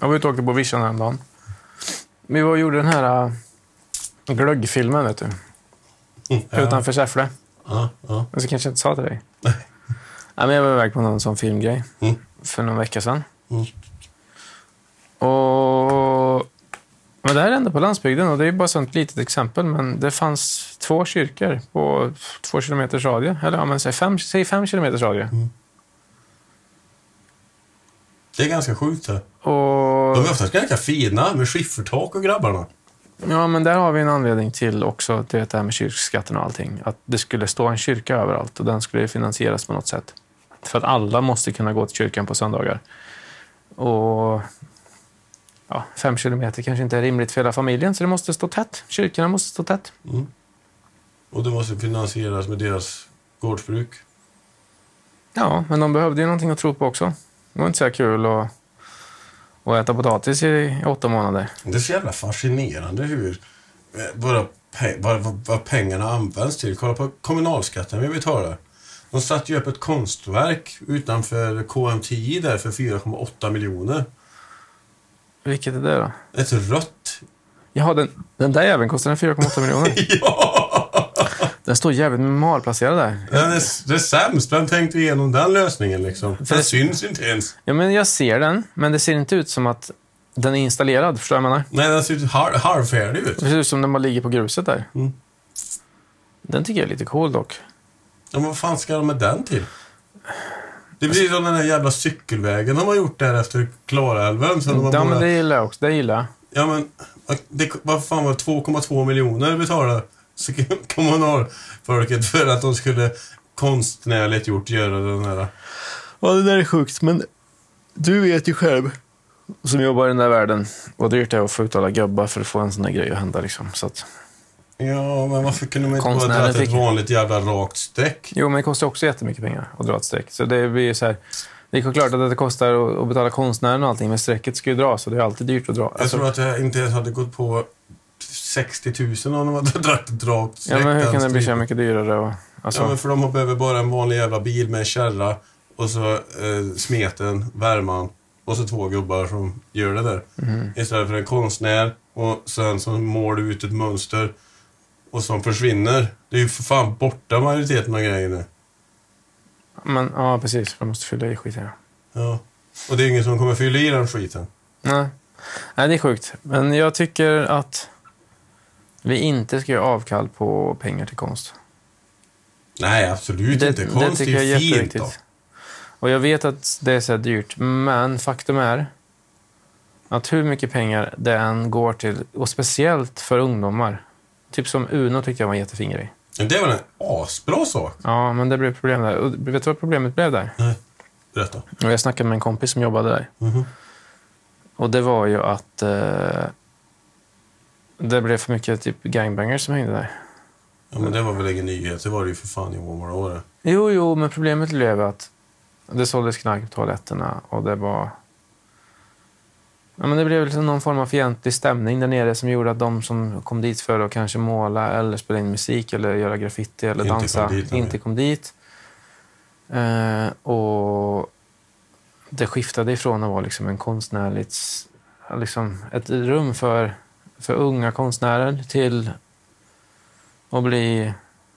Jag var ute och åkte på vischan häromdagen. Vi var och gjorde den här äh, glöggfilmen, vet du.
Ja,
Utanför Säffle.
ja,
Men
ja.
så Alltså, kanske jag inte sa till dig. Nej, men jag var iväg på någon sån filmgrej
Mm.
för någon vecka sedan.
Mm.
Och... Men det här hände på landsbygden och det är bara ett sånt litet exempel. Men det fanns två kyrkor på två kilometers radie. Eller ja, men säg fem, säg fem kilometers radie.
Det är ganska sjukt det.
Och...
De är oftast ganska fina med skiffertak och grabbarna.
Ja, men där har vi en anledning till också, du vet det här med kyrkskatten och allting. Att det skulle stå en kyrka överallt och den skulle finansieras på något sätt. För att alla måste kunna gå till kyrkan på söndagar. Och ja, fem kilometer kanske inte är rimligt för hela familjen, så det måste stå tätt. Kyrkorna måste stå tätt.
Mm. Och det måste finansieras med deras gårdsbruk.
Ja, men de behövde ju någonting att tro på också. Det var inte så här kul att, att äta potatis i åtta månader.
Det är så jävla fascinerande hur eh, våra pe- vad, vad, vad pengarna används till. Kolla på kommunalskatten vi betalar. De satte ju upp ett konstverk utanför KMTI där för 4,8 miljoner.
Vilket är det då?
Ett rött.
Jaha, den, den där jäveln kostade 4,8 miljoner.
Ja!
Den står jävligt malplacerad där.
Den är, s- det är sämst. Vem tänkte igenom den lösningen liksom? Den syns inte ens.
Ja, men jag ser den, men det ser inte ut som att den är installerad. Förstår du vad jag menar?
Nej, den ser ju halv, halvfärdig ut.
Det ser ut som den bara ligger på gruset där.
Mm.
Den tycker jag är lite cool dock.
Ja, men vad fan ska de med den till? Det blir som den här jävla cykelvägen de har gjort där efter Klarälven. Sen de har
Ja, men
borrat-
det gillar jag också. Det gillar jag.
Ja men, det, vad fan var det, 2,2 miljoner betalade så kommunalfolket för att de skulle konstnärligt gjort göra den här.
Ja, det där är sjukt, men du vet ju själv som jobbar i den där världen vad dyrt det är att få ut alla gubbar för att få en sån där grej att hända. Liksom. Så att,
Ja, men varför kunde man inte
Konstnären
bara dra ett
fick-
vanligt jävla rakt streck?
jo, men det kostar också jättemycket pengar att dra ett streck. Så det blir ju så här, det är klart att det kostar att- att betala konstnären och allting, men strecket ska ju dras och det är alltid dyrt att dra.
Jag
Alltså-
tror att jag inte ens hade gått på 60 000 om de hade dragit ett rakt
ja,
streck.
men hur kan
den
det bli så
striden.
här mycket dyrare? Och, alltså,
Ja, men för de har- behöver bara en vanlig jävla bil med en kärra och så eh, smeten, värman och så två gubbar som gör det där.
Mhm.
Istället för en konstnär och sen som målar ut ett mönster och som försvinner. Det är ju för fan borta majoriteten av grejerna.
Men ja, precis. Man måste fylla i skiten. ja.
Ja. Och det är ingen som kommer fylla i den skiten.
Nej. Nej, det är sjukt. Men jag tycker att vi inte ska göra avkall på pengar till konst.
Nej, absolut inte. Konst det är ju fint då.
Och jag vet att det är så här dyrt, men faktum är att hur mycket pengar det än går till, och speciellt för ungdomar. Typ som Uno tyckte jag var en jättefin grej.
Men det är väl en asbra sak?
Ja, men det blev problem där. Och vet du vad problemet blev där?
Nej. Berätta.
Och jag snackade med en kompis som jobbade där.
Mhm.
Och det var ju att eh, det blev för mycket typ gangbangers som hängde där.
Ja, men det var väl ingen nyhet. Det var det ju för fan i många år. det.
Jo, jo, men problemet blev att det såldes knark på toaletterna och det var... Ja, men det blev liksom någon form av fientlig stämning där nere som gjorde att de som kom dit för att kanske måla eller spela in musik eller göra graffiti eller
Inte kom
dansa
dit, nej.
inte kom dit. Eh, och det skiftade ifrån att vara liksom en konstnärligt... s- Liksom ett rum för, för unga konstnärer till att bli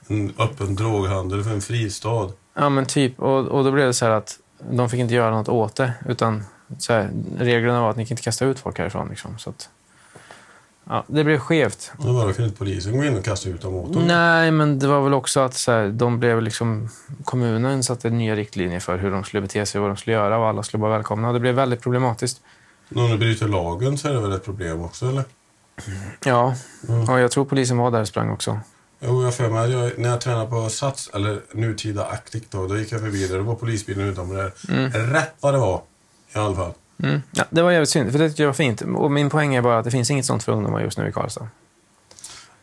En öppen droghandel för en fristad.
Ja, men typ. Och, och då blev det så här att de fick inte göra något åt det. Utan så här, reglerna var att ni kan inte kasta ut folk härifrån. Liksom, så att, ja, det blev skevt.
Men vadå, kunde inte polisen gå in och kasta ut dem åt dem?
Nej, men det var väl också att så här, de blev liksom, kommunen satte nya riktlinjer för hur de skulle bete sig, vad de skulle göra och alla skulle vara välkomna. Och det blev väldigt problematiskt.
Om du bryter lagen så är det väl ett problem också, eller?
Ja,
Mm.
och jag tror polisen var där och sprang också.
Jo, jag har för mig att jag, när jag tränade på Sats, eller nutida Actic då, då gick jag förbi där. Det var polisbilen utanför där. Rätt vad det var, i alla fall.
Mm. Ja, det var jävligt synd, för det tyckte jag var fint. Och min poäng är bara att det finns inget sånt för ungdomar just nu i Karlstad.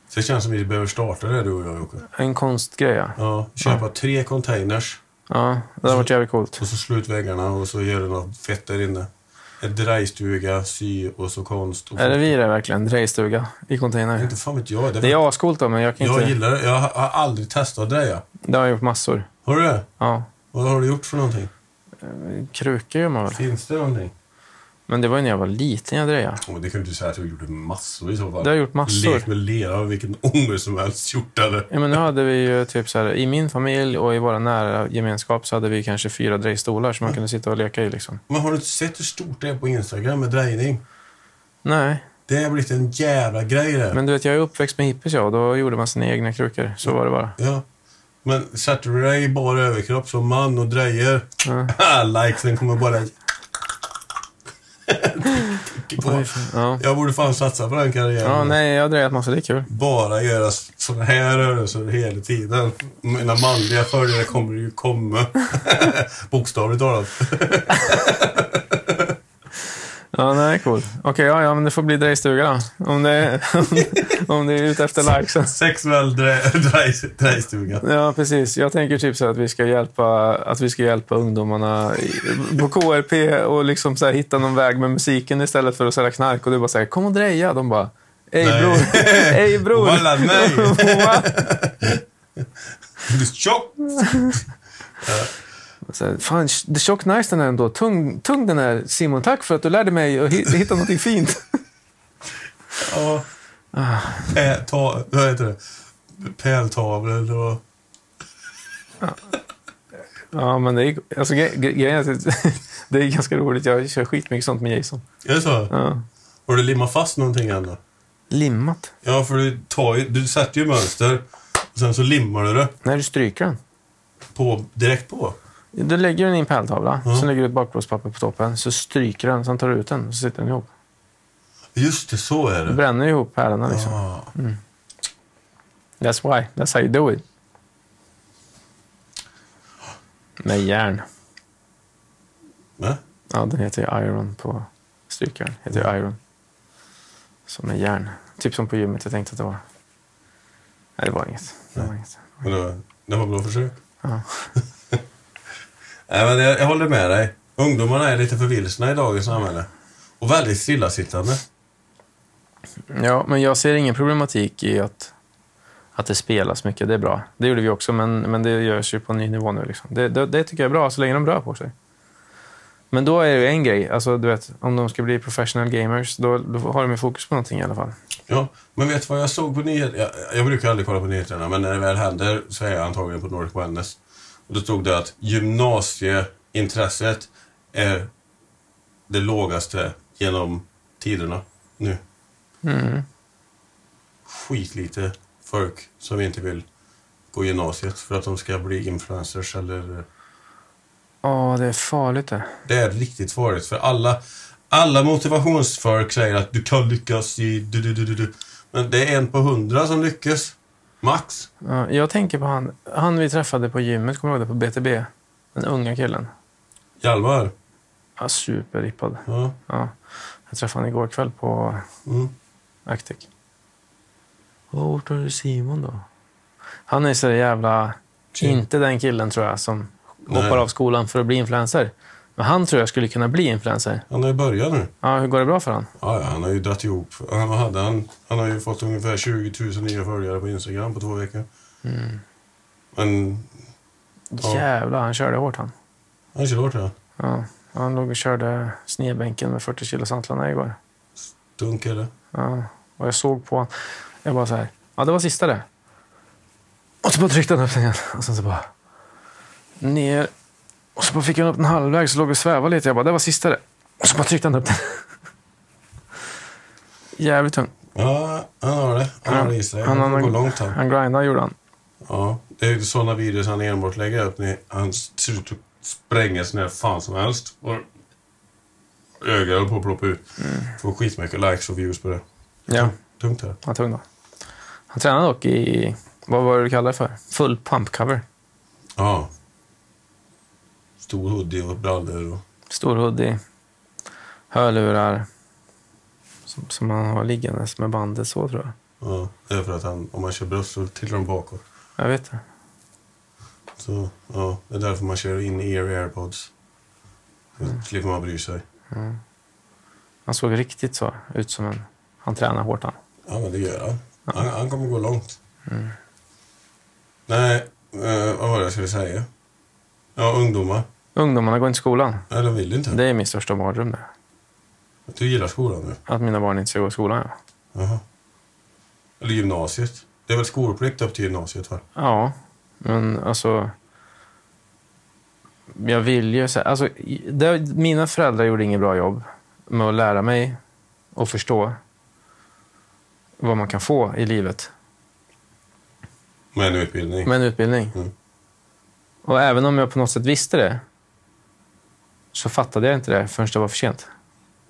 Så det känns som vi behöver starta det, du och jag, Jocke.
En konstgrej, ja.
Ja, köpa tre containers
ja det hade varit jävligt coolt.
och så slut väggarna och så gör du något fett där inne. En drejstuga, sy och så konst. Och
Är det vi det verkligen? Drejstuga i container?
Inte fan vet jag. Det
Det är ascoolt då, men jag kan
jag
inte...
gillar det. Jag har har aldrig testat att dreja.
Det har jag gjort massor.
Har du det?
Ja.
Vad har du gjort för någonting?
Krukor gör man väl?
Finns det någonting?
Men det var ju när jag var liten jag drejade.
Oh, det kan du inte säga att du gjorde massor i så fall.
Det har jag gjort massor.
Lek med lera och vilken ånger som helst gjort eller?
Ja, men nu hade vi ju typ så här, i min familj och i våra nära gemenskap så hade vi kanske fyra drejstolar som man kunde sitta och leka i liksom.
Men har du inte sett hur stort det är på Instagram med drejning?
Nej,
Det har blivit en jävla grej det.
men du vet jag är uppväxt med hippies jag och då gjorde man sina egna krukor. Så var det bara.
Ja. Men sätter du dig i bara överkropp som man och drejer,
Ja.
likesen kommer bara... Tick på.
Oj, fan. Ja.
Jag borde fan satsa på den karriären.
ja, nej, jag har drejat massor. Det är kul.
Bara göra sådana här rörelser hela tiden. Mina manliga följare kommer ju komma. Bokstavligt talat.
Ja, nej, cool. Okej, ja, ja, men det får bli drejstuga då. Om det är, om det är ute efter likesen.
Sexuell dre- drej- drejstuga.
Ja, precis. Jag tänker typ så här att vi ska hjälpa, att vi ska hjälpa ungdomarna i- på KRP och liksom så här hitta någon väg med musiken istället för att sälja knark. Och du bara säger kom och dreja. De bara, ej
Nej.
bror, ej bror.
Walla, nej.
Walla.
Du är tjock!
så här, Fan, sh- det är tjock nice den här ändå. Tung, tung den här. Simon, tack för att du lärde mig att hi- hitta någonting fint.
Ja. Pä- ta- Vad heter det? Pältavlor och...
Ja, men det är, alltså, gre- gre- grejen är att det- det är ganska roligt. Jag kör skitmycket sånt med Jason.
Är det så?
Ja.
Har du limmat fast någonting än då?
Limmat?
Ja, för du, tar ju, du sätter ju mönster. Och sen så limmar du det
Nej, du stryker den.
på, direkt på.
Du lägger den i en pärltavla,
Ja.
sen lägger du ett bakplåtspapper på toppen, så stryker den, sen tar du ut den och så sitter den ihop.
Just det, så är
Du
det.
bränner ihop pärlorna liksom.
Ah.
That's why, that's how you do it. Med järn.
Va?
Ja, den heter ju iron på strykjärn. heter ju iron. Så med järn. Typ som på gymmet jag tänkte att det var. Nej, det var inget. Det var inget.
Men det, det var bra försök.
Ja.
Nej, men jag, jag håller med dig. Ungdomarna är lite förvilsna i dagens samhälle. Och väldigt stillasittande.
Ja, men jag ser ingen problematik i att, att det spelas mycket. Det är bra. Det gjorde vi också, men, men det görs ju på en ny nivå nu. Liksom. Det, det, det tycker jag är bra, så länge de rör på sig. Men då är det ju en grej. Alltså, du vet, om de ska bli professional gamers, då, då har de ju fokus på någonting i alla fall.
Ja, men vet du vad jag såg på nyheterna? Jag, jag brukar aldrig kolla på nyheterna, men när det väl händer så är jag antagligen på Nordic Wellness. Och då stod det att gymnasieintresset är det lågaste genom tiderna nu.
Mm.
Skitlite folk som inte vill gå gymnasiet för att de ska bli influencers eller
Åh, det är farligt det.
Det är riktigt farligt för alla, alla motivationsfolk säger att du kan lyckas i du, du, du, du, du. Men det är en på hundra som lyckas. Max.
Ja, jag tänker på han, han vi träffade på gymmet, kommer du ihåg det? På BTB. Den unga killen.
Hjalmar.
Ja, superrippad.
Ja.
Ja. Jag träffade honom igår kväll på
Mm.
Actic. Och Vart har du Simon då? Han är så jävla...
Chill.
Inte den killen tror jag som
Nej.
hoppar av skolan för att bli influencer. Men han tror jag skulle kunna bli influencer.
Han har ju börjat nu.
Ja, hur går det bra för han?
Ja, ja, han har ju dratt ihop. Han, vad hade han? han har ju fått ungefär 20 000 nya följare på Instagram på två veckor. Men Ja.
Mm. Jävlar, han körde hårt han.
han kör hårt här.
Ja, han låg och körde snedbänken med 40 kilo santlarna igår.
Dunk eller?
Ja, och jag såg på honom. Jag bara så här. Ja, det var sista det. Och så bara tryckte han upp den igen. Och sen så bara ner. Och så bara fick han upp den halvvägs och låg och svävade lite. Jag bara, det var sista det. Och så bara tryckte han upp den. Jävligt tung.
Ja, han har det. Han har det i sig. Han,
han,
får gå
han,
långt han.
han grindade gjorde han.
Ja, det är ju sådana videos han enbart lägger upp. När han ser ut att spränga sig när fan som helst. Och ögat håller på att ploppa ut. Får skitmycket likes och views på det.
Ja,
Tungt här.
han var tung då. Han tränade dock i, vad var det du kallade det för? Full pump cover.
Ja. Stor hoodie och brallor och...
Stor hoodie, hörlurar. Som, som han har liggandes med bandet så tror jag.
Ja, det är för att han, om man kör bröst så trillar de bakåt.
Jag vet det.
Så, ja, det är därför man kör in ear airpods. Då slipper man bry sig.
Han såg riktigt så ut som en... Han tränar hårt han.
Ja, men det gör han. Han, han kommer gå långt. Nej, eh, vad var det jag skulle säga? Ja, ungdomar.
Ungdomarna går inte i skolan.
Nej, de vill inte.
Det är min största mardröm det.
Du gillar skolan nu?
Att mina barn inte ska gå i skolan. Ja,
Jaha. Eller gymnasiet. Det är väl skolplikt upp till gymnasiet, va?
ja men alltså... Jag vill ju... så här- Alltså, det, mina föräldrar gjorde inget bra jobb med att lära mig och förstå vad man kan få i livet
Med en utbildning.
med en utbildning.
Mm.
Och även om jag på något sätt visste det så fattade jag inte det förrän det var för sent.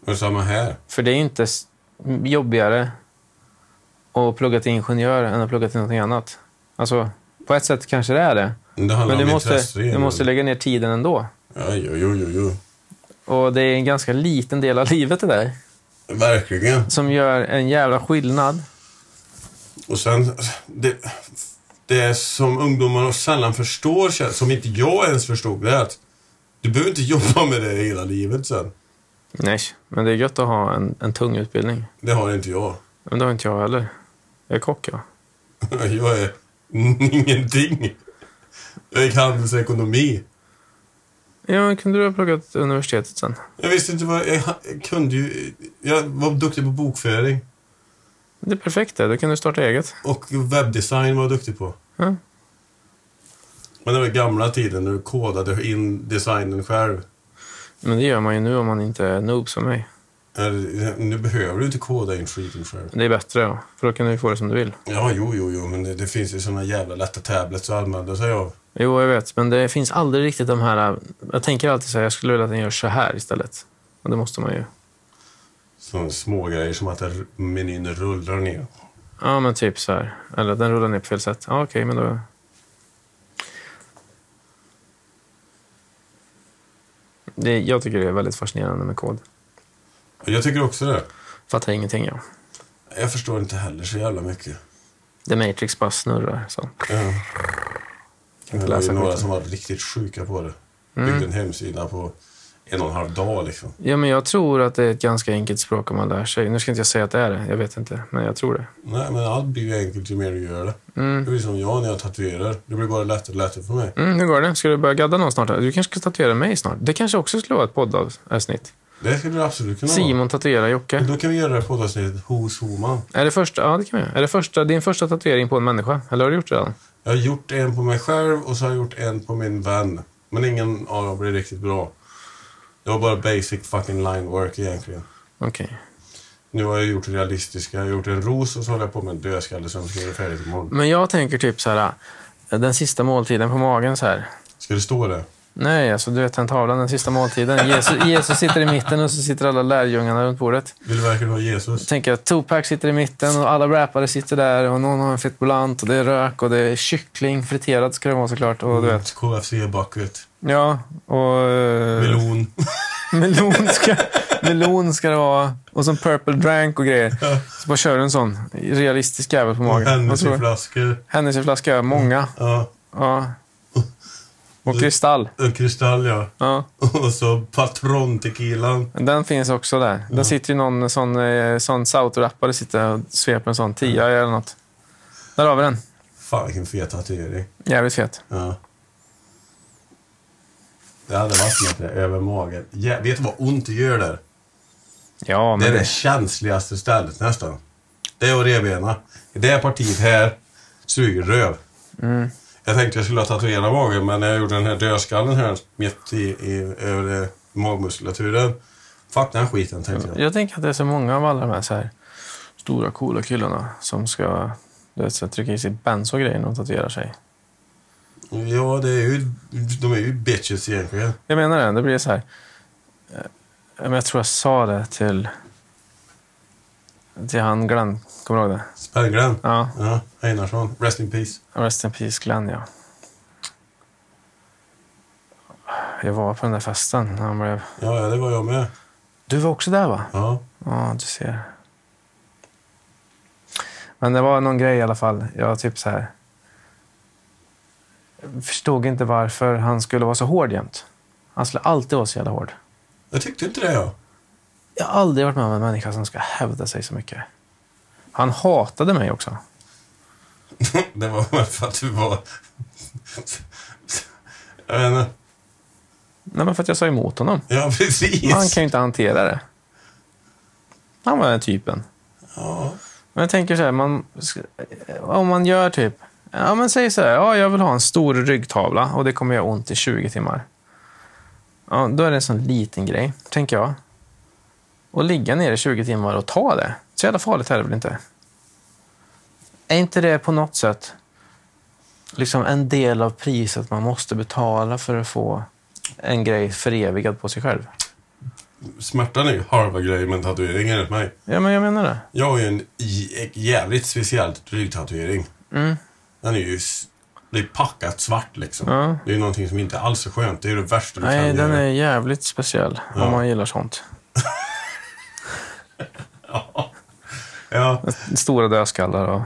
Men samma här.
För det är ju inte s- jobbigare att plugga till ingenjör än att plugga till någonting annat. Alltså, på ett sätt kanske det är det.
Men det handlar
Men du
om
måste,
intresser
du
igen.
måste lägga ner tiden ändå.
Ja, jo, jo, jo, jo.
Och det är en ganska liten del av livet det där.
Verkligen.
Som gör en jävla skillnad.
Och sen, det, det som ungdomarna sällan förstår, känns- som inte jag ens förstod, det är att du behöver inte jobba med det hela livet sen.
Nej, men det är gött att ha en, en tung utbildning.
Det har inte jag.
Men det har inte jag heller. Jag är kock, ja.
Jag är ingenting. Jag gick handelsekonomi.
Ja, men kunde du ha pluggat universitetet sen?
Jag visste inte vad jag, jag kunde ju. Jag var duktig på bokföring
Det är perfekt det. Då kan du starta eget.
och webbdesign var jag duktig på.
Ja.
Men det var gamla tiden när du kodade in designen själv.
Men det gör man ju nu om man inte är noob som mig.
Eller, Nu behöver du inte koda in skiten själv.
Det är bättre, ja. För då kan du ju få det som du vill.
Ja, jo, jo, jo, men det, det finns ju såna jävla lätta tablets att använda sig av.
Jo, jag vet. Men det finns aldrig riktigt de här... Jag tänker alltid så här, jag skulle vilja att den gör så här istället. Men det måste man ju.
Såna små grejer som att där menyn rullar ner.
Ja, men typ så här. Eller den rullar ner på fel sätt. Ja, okej, men då... Det, jag tycker det är väldigt fascinerande med kod.
Och Jag tycker också det.
Fattar ingenting, jag.
Jag förstår inte heller så jävla mycket.
The Matrix bara snurrar. Så.
Ja.
Kan
Det
inte
var ju
läsa
några
skiten.
som var riktigt sjuka på det.
Mm.
Byggde en hemsida på en och en halv dag liksom.
Ja, men jag tror att det är ett ganska enkelt språk om man lär sig. Nu ska inte jag säga att det är det. Jag vet inte. Men jag tror det.
Nej, men allt blir ju enkelt ju mer du gör det.
Mm.
Det blir som jag när jag tatuerar. Det blir bara lättare och lättare för mig.
Mm, hur går det? Ska du börja gadda någon snart? Du kanske ska tatuera mig snart? Det kanske också skulle vara ett poddavsnitt.
Det skulle du absolut kunna
Simon tatuerar
vara.
Jocke.
Då kan vi göra det här poddavsnittet hos Homan.
Är det första? Ja, det kan vi göra. Är det första, din första tatuering på en människa? Eller har du gjort det redan?
Jag har gjort en på mig själv och så har jag gjort en på min vän. Men ingen av dem blev riktigt bra. Det var bara basic fucking line work egentligen.
Okej.
Nu har jag gjort realistiska. Jag har gjort en ros och så håller jag på med en dödskalle som ska göra färdigt imorgon.
äh, Men jag tänker typ så här. Den sista måltiden på magen så här.
Ska det stå det?
Nej, alltså du vet den tavlan, den sista måltiden. Jesus, Jesus sitter i mitten och så sitter alla lärjungarna runt bordet.
Vill du verkligen ha
Jag
Jesus?
tänker att Tupac sitter i mitten och alla rappare sitter där och någon har en fitbulant och det är rök och det är kyckling, friterad ska det vara såklart. Och du vet,
KFC bucket.
ja. Och... eh,
Melon.
Melon ska, melon ska det vara. Och som purple drank och grejer. Så bara kör du en sån realistisk jävel på magen. Vad tror du?
Hennessyflaskor.
Hennessyflaska, många.
Ja.
Ja. Och kristall.
En kristall, ja.
Ja.
Och så patrontequilan.
Den finns också där. Där sitter ju någon sån, eh, sån southrappare sitter och sveper en sån tia eller något. Där har vi den.
Fan, vilken fet tatuering.
Jävligt fet.
Ja. Det hade varit något där, över magen. Ja, vet du vad ont det gör där?
Ja,
Det
men
är det känsligaste stället nästan. Det är att revbena. I det här partiet här suger röv.
Mm.
Jag tänkte jag skulle ha tatuerat magen, men när jag gjorde den här dödskallen här mitt i, i över eh, magmuskulaturen. Fuck den skiten, tänkte jag.
jag tänker att det är så många av alla de här, så här stora coola killarna som ska du vet, så här, trycka i sig benzo och grejer när de tatuerar sig.
Ja, det är ju, de är ju bitches egentligen.
Jag menar det. Det blir så här. Eh, Men jag tror jag sa det till, till han Glenn. Kommer du ihåg det?
Spärrgren.
Ja.
Ja, Einarsson. Rest in peace.
Rest in peace Glenn, ja. Jag var på den där festen när han blev...
Ja, ja, det var jag med.
Du var också där va?
Ja.
Ja, du ser. Men det var någon grej i alla fall. Jag var typ så här... Jag förstod inte varför han skulle vara så hård jämt. Han skulle alltid vara så jävla hård.
Jag tyckte inte det, ja.
Jag har aldrig varit med om en människa som ska hävda sig så mycket. Han hatade mig också.
Det var väl för att du var... Jag vet inte.
Nej, men för att jag sa emot honom.
Ja, precis.
Han kan ju inte hantera det. Han var den typen.
Ja.
Men jag tänker så här, man, eh, om man gör typ... Ja, men säg så här, ja, jag vill ha en stor ryggtavla och det kommer göra ont i 20 timmar. Ja, då är det en sån liten grej, tänker jag. Och ligga ner i 20 timmar och ta det. Så jävla farligt är det väl inte? Är inte det på något sätt liksom en del av priset man måste betala för att få en grej förevigad på sig själv?
Smärtan är ju halva grejen med en tatuering enligt mig.
Ja, men jag menar det.
Jag har ju en j- jävligt speciell ryggtatuering.
Mm.
Den är ju... s- Det är packat svart liksom.
Ja.
Det är ju någonting som inte alls är skönt. Det är ju det värsta du
Nej,
kan
den
göra.
är jävligt speciell
Ja.
om man gillar sånt.
Ja,
Stora dödskallar och...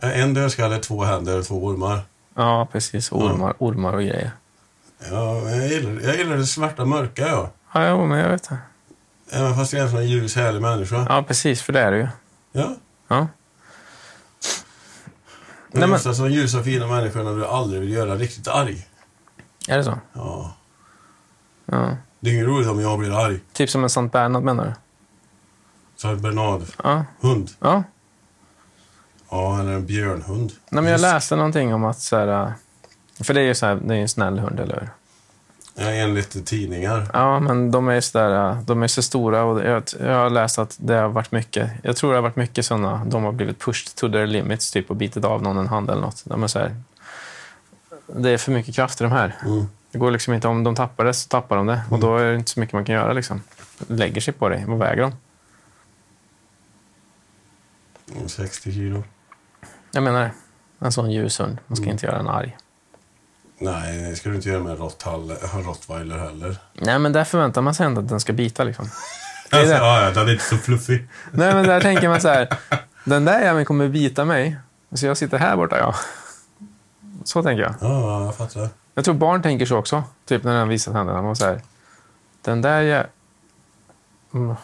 en dödskalle, två händer och två ormar.
Ja, precis. Ormar, ormar och grejer.
Ja, jag gillar, jag gillar det svarta mörka, ja.
Ja, jo, men jag vet det.
Även fast jag är en sån här ljus, härlig människa.
Ja, precis. För det är det ju.
Ja.
Ja.
Men
Nej, men-
just alltså, ljusa fina människorna du aldrig vill göra riktigt arg.
Är det så?
Ja.
Ja.
Det är inget roligt om jag blir arg.
Typ som en Sankt Bernhard menar du?
Så en Bernard.
Ja.
Hund.
ja.
Ja, eller en björnhund.
Nej, men jag läste någonting om att så här... äh, För det är ju så här, det är ju en snäll hund, eller hur?
Ja, enligt tidningar.
Ja, men de är ju så, där, äh, de är så stora och jag, jag har läst att det har varit mycket. Jag tror det har varit mycket sådana. De har blivit pushed to their limits typ och bitit av någon en hand eller något. De är så här, det är för mycket kraft i de här.
Mm.
Det går liksom inte, om de tappar det så tappar de det. Och då är det inte så mycket man kan göra. Liksom. Lägger sig på dig. Vad väger de?
Mm, 60 kilo.
Jag menar det. En sån ljus hund. Man ska inte göra en arg.
Nej, det ska du inte göra med en rotthall- rottweiler heller.
Nej, men där förväntar man sig ändå att den ska bita. Liksom. Det är det.
Ja, ja, den är inte så fluffig.
Nej, men där tänker man så här. Den där jäveln kommer bita mig. Så jag sitter här borta, ja. Så tänker jag.
Ja, jag fattar.
Jag tror barn tänker så också. Typ när den visar händerna. Man så här, den där jäveln... Mm.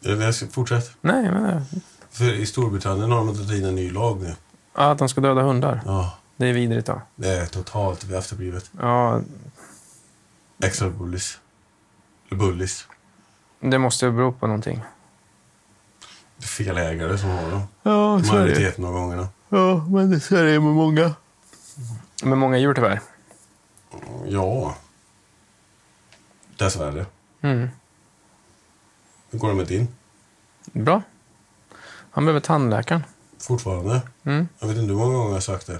Ja, men jag ska- Fortsätt.
Nej, jag menar det.
För i Storbritannien har de tagit in en ny lag nu.
Ja, att de ska döda hundar.
Ja,
Det är vidrigt. Då.
det är totalt efterblivet.
Ja,
Extra bullis. Eller bullis.
det måste ju bero på någonting.
Det är fel ägare som har dem.
Ja,
Majoriteten av gångerna.
Ja, men det så är det ju med många. Med många djur tyvärr.
Ja. Dessvärre.
Mm.
Hur går det med din?
Bra. Han behöver tandläkaren.
Fortfarande.
Mm.
Jag vet inte hur många gånger jag har sagt det.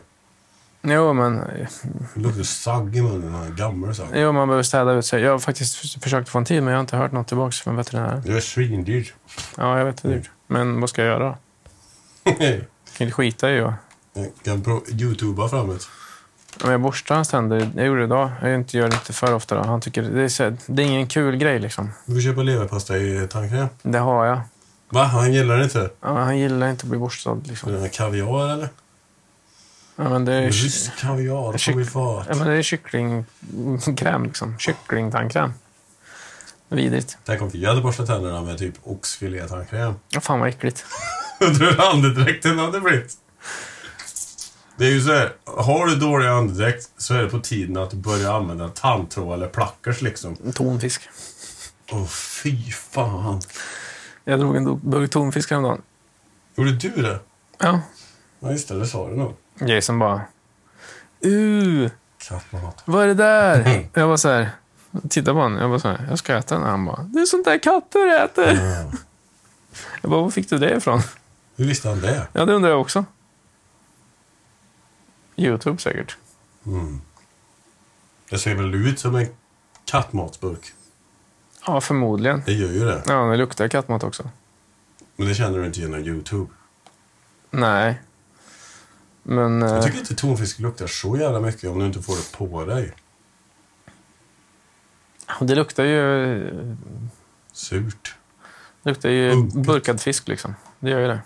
Jo, men,
Det luktar sagg i munnen. En gammal sagg.
jo, man behöver städa ut sig. Jag har faktiskt f- försökt få en tid, men jag har inte hört något tillbaka från veterinären.
Det är svindyrt.
Ja, jag vet det är dyrt. Men vad ska jag göra? Jag kan inte skita i det.
Jag kan pro- youtuba framåt.
Men jag borstar hans tänder. Jag gjorde det idag. Jag inte gör det inte för ofta. Då. Han tycker det är, så, det är ingen kul grej liksom.
Du får köpa leverpastej i tandkräm.
Det har jag.
Va? Han gillar det inte?
Ja, han gillar inte att bli borstad
Är
liksom.
det kaviar eller?
Ja, men det är,
Rysk kaviar
Kyck-
på min fat.
ja, men det är kycklingkräm liksom. Kycklingtandkräm. Vidrigt.
Tänk om vi hade borstat tänderna med typ oxfilétandkräm.
Ja, fan vad äckligt.
Undrar hur andedräkten hade blivit. Det är ju så här, har du dålig andedräkt så är det på tiden att du börjar använda tandtråd eller plackers liksom.
Tonfisk.
Åh fy fan.
Jag drog en do- burk tonfisk häromdagen.
Gjorde du det?
Ja.
Ja just det, det sa du nog.
Jason bara... Uh,
Kattmat.
vad är det där? Jag var så här... Titta på honom. Jag var så här, jag ska äta den. Han bara, det är sånt där katter äter.
Mm.
Jag bara, var fick du det ifrån?
Hur visste han det?
Ja, det undrar jag också. Youtube säkert.
Mm. Det ser väl ut som en kattmatsburk.
Ja, förmodligen.
Det gör ju det.
Ja, det luktar kattmat också.
Men det känner du inte genom YouTube.
Nej. Men... eh,
Jag tycker inte tonfisk luktar så jävla mycket om du inte får det på dig.
Det luktar ju,
Surt.
det luktar ju
Unket.
burkad fisk liksom. Det gör ju det.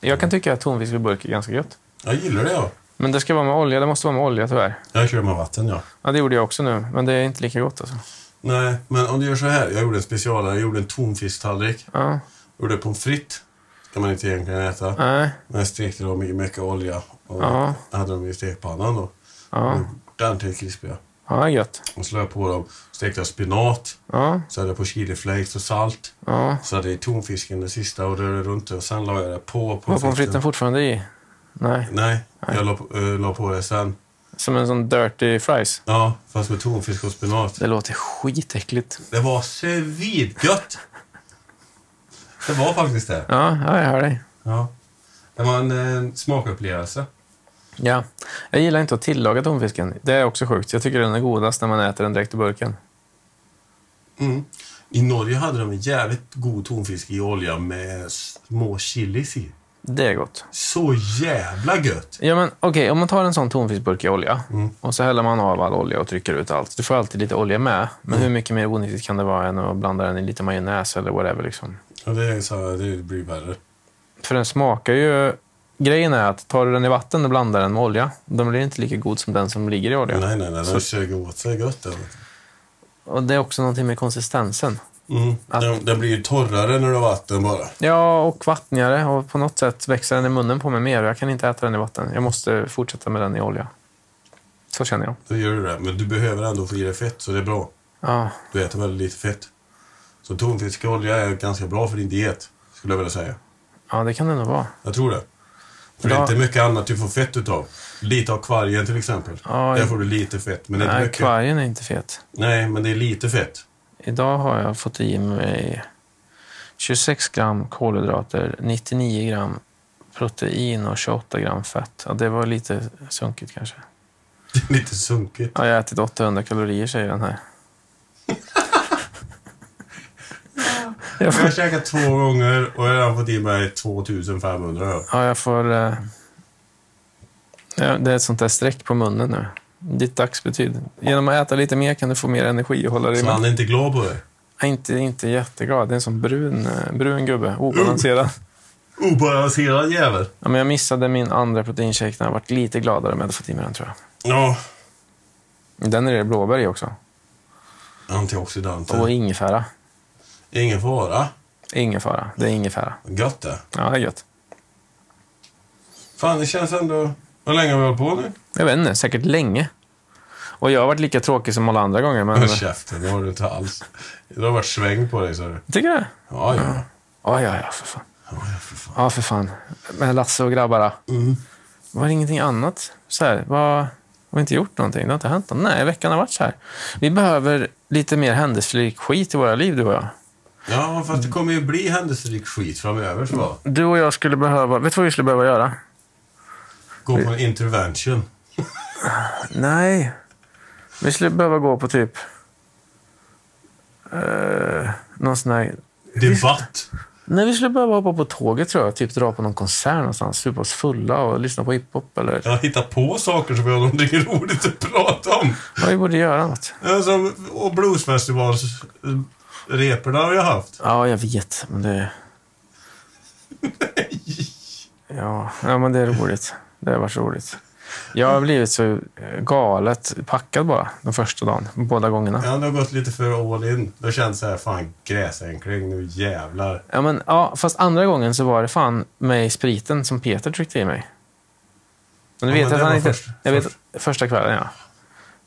Jag kan tycka att tonfisk i burk är ganska gött.
Jag gillar det ja.
Men det ska vara med olja. Det måste vara med olja tyvärr.
Jag kör med vatten ja.
Ja, det gjorde jag också nu. Men det är inte lika gott alltså.
Nej, men om du gör så här. Jag gjorde en specialare. Jag gjorde en tonfisktallrik.
Ja,
Gjorde pommes frites. Ska man inte egentligen äta.
nej.
Men jag stekte dem i mycket olja. Och
Ja.
hade dem i stekpannan då.
Ja,
Ordentligt krispiga.
ja gött.
Och så la jag på dem. Stekte jag spinat.
Ja,
Så hade jag på chili flakes och salt.
ja.
Så hade jag i tonfisken det sista och rörde runt det. Och sen la jag det på
Var pommes
pommes
fritesen
fritesen.
fortfarande i? Nej.
Nej, jag la på, eh, la på det sen.
Som en sån dirty fries.
Ja, fast med tonfisk och spenat.
Det låter skitäckligt.
Det var svidgött! Det var faktiskt det.
Ja, ja, jag hör dig.
Ja. Det var en, eh, smakupplevelse.
Ja. Jag gillar inte att tillaga tonfisken. Det är också sjukt. Jag tycker den är godast när man äter den direkt i burken.
Mm. I Norge hade de en jävligt god tonfisk i olja med små chilis i.
Det är gott.
Så jävla gött!
Ja, men okej, om man tar en sån tonfiskburk i olja och så häller man av all olja och trycker ut allt. Du får alltid lite olja med, men hur mycket mer onyttigt kan det vara än att blanda den i lite majonnäs eller whatever? Liksom?
Ja, det, är så här, det blir värre.
För den smakar ju... Grejen är att tar du den i vatten och blandar den med olja, den blir inte lika god som den som ligger i olja.
Nej, nej, nej.
Så-
Den sög åt sig gött. Den.
Och det är också någonting med konsistensen.
Mm. Den, den blir ju torrare när du har vatten bara.
Ja, och vattnigare. Och på något sätt växer den i munnen på mig mer. Jag kan inte äta den i vatten. Jag måste fortsätta med den i olja. Så känner jag.
Då gör du det. Men du behöver ändå få i dig fett, så det är bra.
Ja,
Du äter väldigt lite fett. Så tonfisk och olja är ganska bra för din diet, skulle jag vilja säga.
ja det kan det nog vara.
Jag tror det. För det
Ja.
är inte mycket annat du får fett utav. Lite av kvargen till exempel.
Ja,
Där
jag-
får du lite fett, men inte
Nej,
mycket.
kvargen är inte fet.
Nej, men det är lite fett.
Idag har jag fått i mig 26 gram kolhydrater, 99 gram protein och 28 gram fett. Ja, det var lite sunkigt kanske.
Det är lite sunkigt.
Ja, jag har ätit 800 kalorier säger den här. jag,
Jag har
får,
käkat två gånger och jag har fått i mig 2500. då.
ja, jag får... eh, Ja, det är ett sånt där streck på munnen nu. Ditt dagsbetyd. Genom att äta lite mer kan du få mer energi och hålla dig
Så
med.
han är inte glad på det.
Inte, inte jätteglad. Det är en sån brun, eh, brun gubbe. Obalanserad.
Obalanserad jävel.
Ja, men jag missade min andra proteinshake när jag varit lite gladare om jag hade fått i mig den tror
Ja.
jag. Den är det blåbär i också.
Antioxidanter.
Och ingefära.
Ingen fara.
Ingefära. Det är ingefära.
Gött det.
Ja, det är gött.
Fan, det känns ändå... Hur länge har vi hållit på nu?
Jag vet inte, säkert länge. Och jag har varit lika tråkig som alla andra gånger. Men...
Håll käften, det har du inte alls. Du har varit sväng på dig, sa du.
Tycker du?
Ja, ja.
Ja, ja, ja, för fan.
Ja, ja, för fan.
Ja, för fan. Med Lasse och grabbarna.
Mm.
Var det ingenting annat? Så här, vad... Har vi inte gjort någonting? Det har inte hänt något. Nej, veckan har varit så här. Vi behöver lite mer händelserik skit i våra liv, du och jag.
Ja, fast det kommer ju bli händelserik skit framöver. Så va?
Du och jag skulle behöva... Vet du vad vi skulle behöva göra?
Gå på en intervention.
Nej. Vi skulle behöva gå på typ... Uh, någon sån här...
Debatt.
Nej, vi skulle behöva hoppa på tåget tror jag. Typ dra på någon konsert någonstans. Supa oss fulla och lyssna på hiphop eller...
Jag hittar på saker som vi har någonting roligt att prata om.
Ja, vi borde göra något.
Ja, som- Och bluesfestivalsreporna har jag haft.
Ja, jag vet. Men det... Ja, ja, men det är roligt. Det har varit roligt. Jag har blivit så eh, galet packad bara den första dagen. Båda gångerna.
Ja, det har gått lite för all in. Då känns det här, fan gräsänkling, nu jävlar.
Ja, men, ja, fast andra gången så var det fan mig spriten som Peter tryckte i mig. Men du
Ja,
vet
men
att
det
han
var
inte...
först-
jag vet, första kvällen, ja.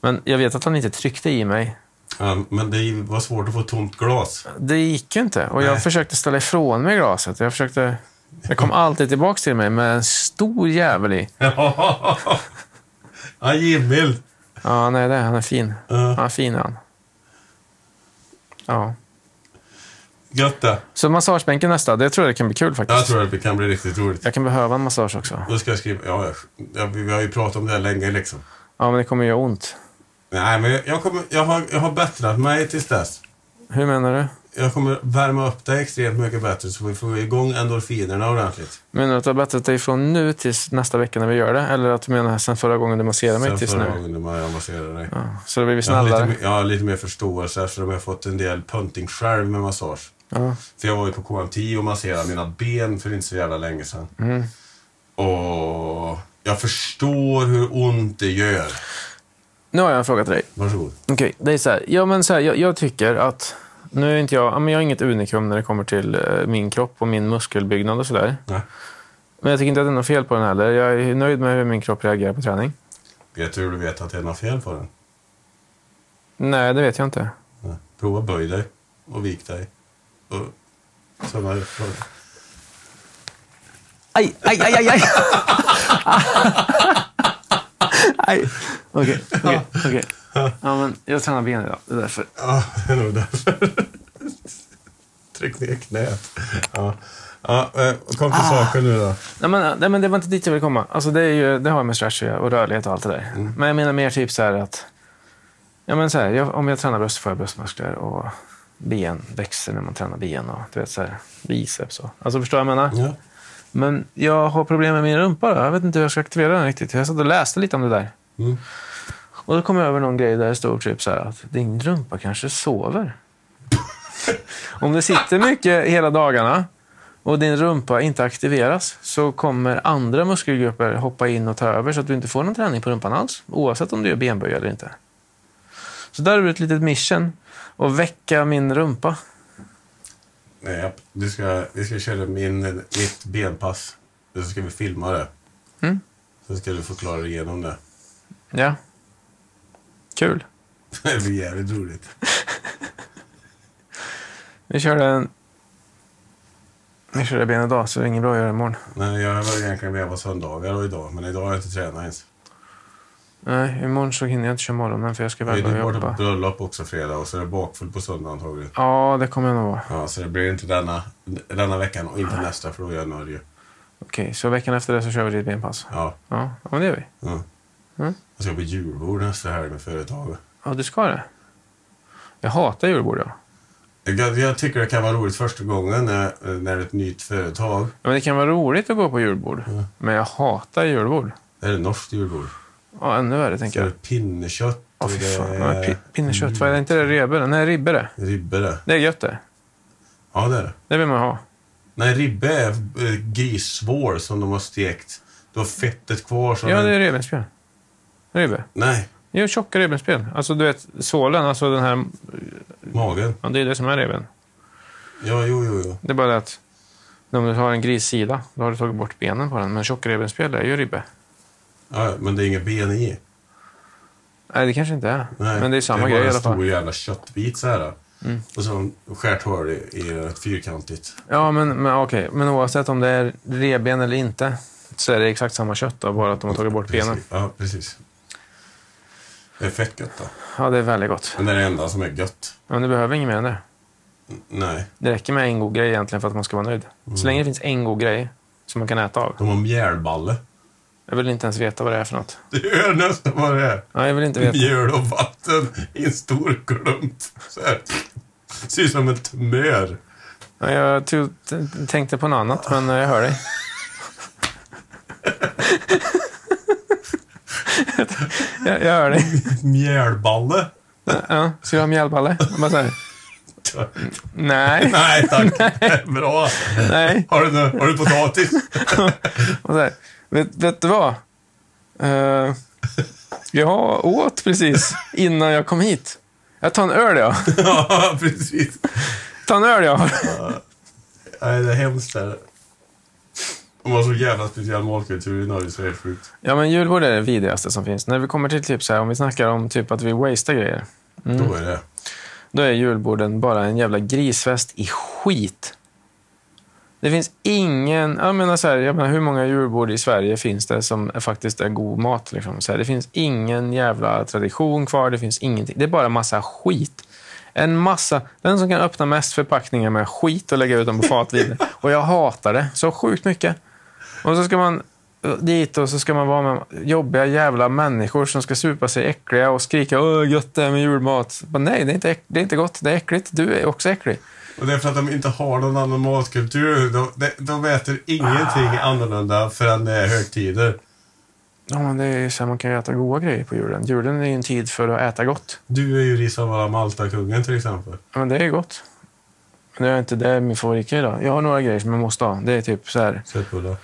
Men jag vet att han inte tryckte i mig.
Ja, men det var svårt att få tomt glas.
Det gick ju inte. Och jag
Nej.
försökte ställa ifrån mig glaset. Jag försökte... Det kom alltid tillbaka till mig med en stor jävel i.
Ja, Jimmil.
Ja, nej, det, han är fin.
Ja.
Han är fin, han. Ja.
Gött det.
Så massagebänken nästa. Det tror jag kan bli kul faktiskt.
Jag tror att det kan bli riktigt roligt.
Jag kan behöva en massage också.
Då ska jag skriva... Ja, jag- ja, vi vi har ju pratat om det här länge liksom.
Ja, men det kommer göra ont.
Nej, men jag- jag, kommer, jag, har, jag har bättrat mig tills dess.
Hur menar du?
Jag kommer värma upp dig extremt mycket bättre så vi får igång endorfinerna ordentligt.
Menar du att du har bättrat dig från nu tills nästa vecka när vi gör det? Eller att du menar sen förra gången du masserade mig
Sen
tills
förra
nu?
gången när man masserade dig.
Ja, så då blir vi
Jag har, lite,
snällare.
mer- jag har lite mer förståelse eftersom jag har fått en del punting själv med massage.
Ja.
För jag var ju på KMT och masserade mina ben för inte så jävla länge sedan.
Mm.
Och jag förstår hur ont det gör.
Nu har jag en fråga till dig.
Varsågod.
Okej, det är så här. Ja, men så här jag, jag tycker att... Nu är inte jag, ja, men jag är inget unikum när det kommer till eh, min kropp och min muskelbyggnad och sådär.
Nej.
Men jag tycker inte att det är något fel på den heller. Jag är nöjd med hur min kropp reagerar på träning.
Vet du hur du vet att det är något fel på den?
Nej, det vet jag inte.
Nej. Prova böj dig och vik dig. Och sådana frågor.
Aj, aj, aj, aj, aj! aj. Okej, okej, okej. Ja, men jag tränar ben idag. Det är därför.
Ja, det är nog därför. Tryck ner knät. Ja. Ja, eh, kom till
Ah.
saken nu då.
Nej men, nej, men det var inte dit jag ville komma. Alltså, det, är ju, det har med stretch att göra och rörlighet och allt det där. Men jag menar mer typ så här att... Ja, men så här, jag, om jag tränar bröst får jag bröstmuskler och ben växer när man tränar ben och du vet, så här, biceps. Och, alltså förstår du vad jag menar?
Ja.
Men jag har problem med min rumpa. Då. Jag vet inte hur jag ska aktivera den riktigt. Jag satt och läste lite om det där.
Mm.
Och då kom jag över någon grej där det stod typ så här att din rumpa kanske sover. Om det sitter mycket hela dagarna och din rumpa inte aktiveras så kommer andra muskelgrupper hoppa in och ta över så att du inte får någon träning på rumpan alls. Oavsett om du gör benböj eller inte. Så där har du ett litet mission. Att väcka min rumpa.
Nej, japp. du ska, vi ska köra min, mitt benpass. Och Så ska vi filma det.
Mm.
Så ska du förklara igenom det.
Ja. Kul.
Det blir jävligt roligt.
Vi körde en... Vi körde ben idag så det är inget bra att göra imorgon.
Nej, jag var egentligen med på söndagar och idag, men idag har jag inte tränat ens.
Nej, imorgon så hinner jag inte köra morgonen för jag ska
Jag är
iväg och
ju borta på
jobba.
bröllop också fredag och så är det bakfull på söndag antagligen.
Ja, det kommer jag nog vara.
Ja, så det blir inte denna, denna veckan och inte nästa för då är jag i Norge.
Okej, så veckan efter det så kör vi ditt benpass.
Ja.
Ja, ja men det gör vi.
Mm.
Mm.
Jag ska på julbord nästa helg med företaget.
Ja, du ska det. Jag hatar julbord, ja.
Jag, jag tycker det kan vara roligt första gången när, när ett nytt företag...
Ja, Men det kan vara roligt att gå på julbord. Men jag hatar julbord.
Det är ett norskt julbord.
Ja, ännu värre
Så
tänker
är
jag.
det pinnekött
Åh,
och
fy
det
fan. Ja,
är Mm.
pi- Pinnekött, vad är det? inte det ribbe? det? Nej, ribbe det.
ribbe det.
Det är gött det.
Ja, det är det.
Det vill man ha.
Nej, ribbe är eh, grissvår som de har stekt. Du har fettet kvar som
Ja, det
en...
är revbensspjäll. Ribbe.
Nej,
Jo, tjocka revbensspjäll. Alltså, du vet, sålen, alltså den här...
magen.
Ja, det är det som är reben.
Ja, jo, jo, jo.
Det är bara det att om du har en grissida, då har du tagit bort benen på den. Men tjocka revbensspjäll är ju ribbe.
Ja, ja, men det är inget ben i.
Nej, det kanske inte är.
Nej,
men det är samma
bara
grej i
en
alla fall. Mm.
stor jävla köttbit så här. Och så har de skärt hål i, i ett fyrkantigt.
Ja, men, men okej. Men oavsett om det är revben eller inte så är det exakt samma kött då, bara att de har tagit bort benen.
Precis. Ja, precis. Det är fett gött då.
Ja, det är väldigt gott.
Men det är det enda som är gött.
Men du behöver inget mer än det.
N- Nej.
Det räcker med en god grej
Mm.
egentligen för att man ska vara nöjd. Så länge det finns en god grej som man kan äta av.
De har mjälballe.
Jag vill inte ens veta vad det är för något.
Du hör nästan vad det är.
Nej, jag vill inte veta.
Mjöl och vatten i en stor klump. Så här. Ser ut som en tumör.
Nej, Jag tro- t- tänkte på något annat, men eh, jag hör dig. jag, jag hör dig.
Mjölballe.
Ja, ska du ha mjällballe? Jag bara så här, Nej,
Nej, tack. Bra.
nej.
Har du, nå- har du potatis?
Och så här, vet, vet du vad? Eh, jag åt precis innan jag kom hit. Jag tar en öl, jag.
ja, precis.
Ta en öl, jag.
Nej, det är hemskt. Där. De har så jävla speciell matkultur i Norge så det är sjukt.
Ja, men julbord är det vidrigaste som finns. När vi kommer till typ så här, om vi snackar om typ att vi wastear grejer.
Då är det.
Då är julborden bara en jävla grisfest i skit. Det finns ingen... Jag menar, så här, jag menar hur många julbord i Sverige finns det som är- faktiskt är god mat? Liksom? Så här, det finns ingen jävla tradition kvar. Det finns ingenting. Det är bara massa skit. En massa... Den som kan öppna mest förpackningar med skit och lägga ut dem på fatviner. Och jag hatar det så sjukt mycket. Och så ska man dit och så ska man vara med jobbiga jävla människor som ska supa sig äckliga och skrika åh gött det här med julmat. Men nej, det är, inte äck- det är inte gott. Det är äckligt. Du är också äcklig.
Och det är för att de inte har någon annan matkultur. De, de, de äter ingenting annorlunda förrän det är högtider.
Ja, men det är ju så här, man kan ju äta goda grejer på julen. Julen är ju en tid för att äta gott.
Du är ju Risavara Malta-kungen till exempel.
Ja, men det är gott. Men det är inte det är min favoritgrej idag. Jag har några grejer som jag måste ha. Det är typ så här,
Köttbullar.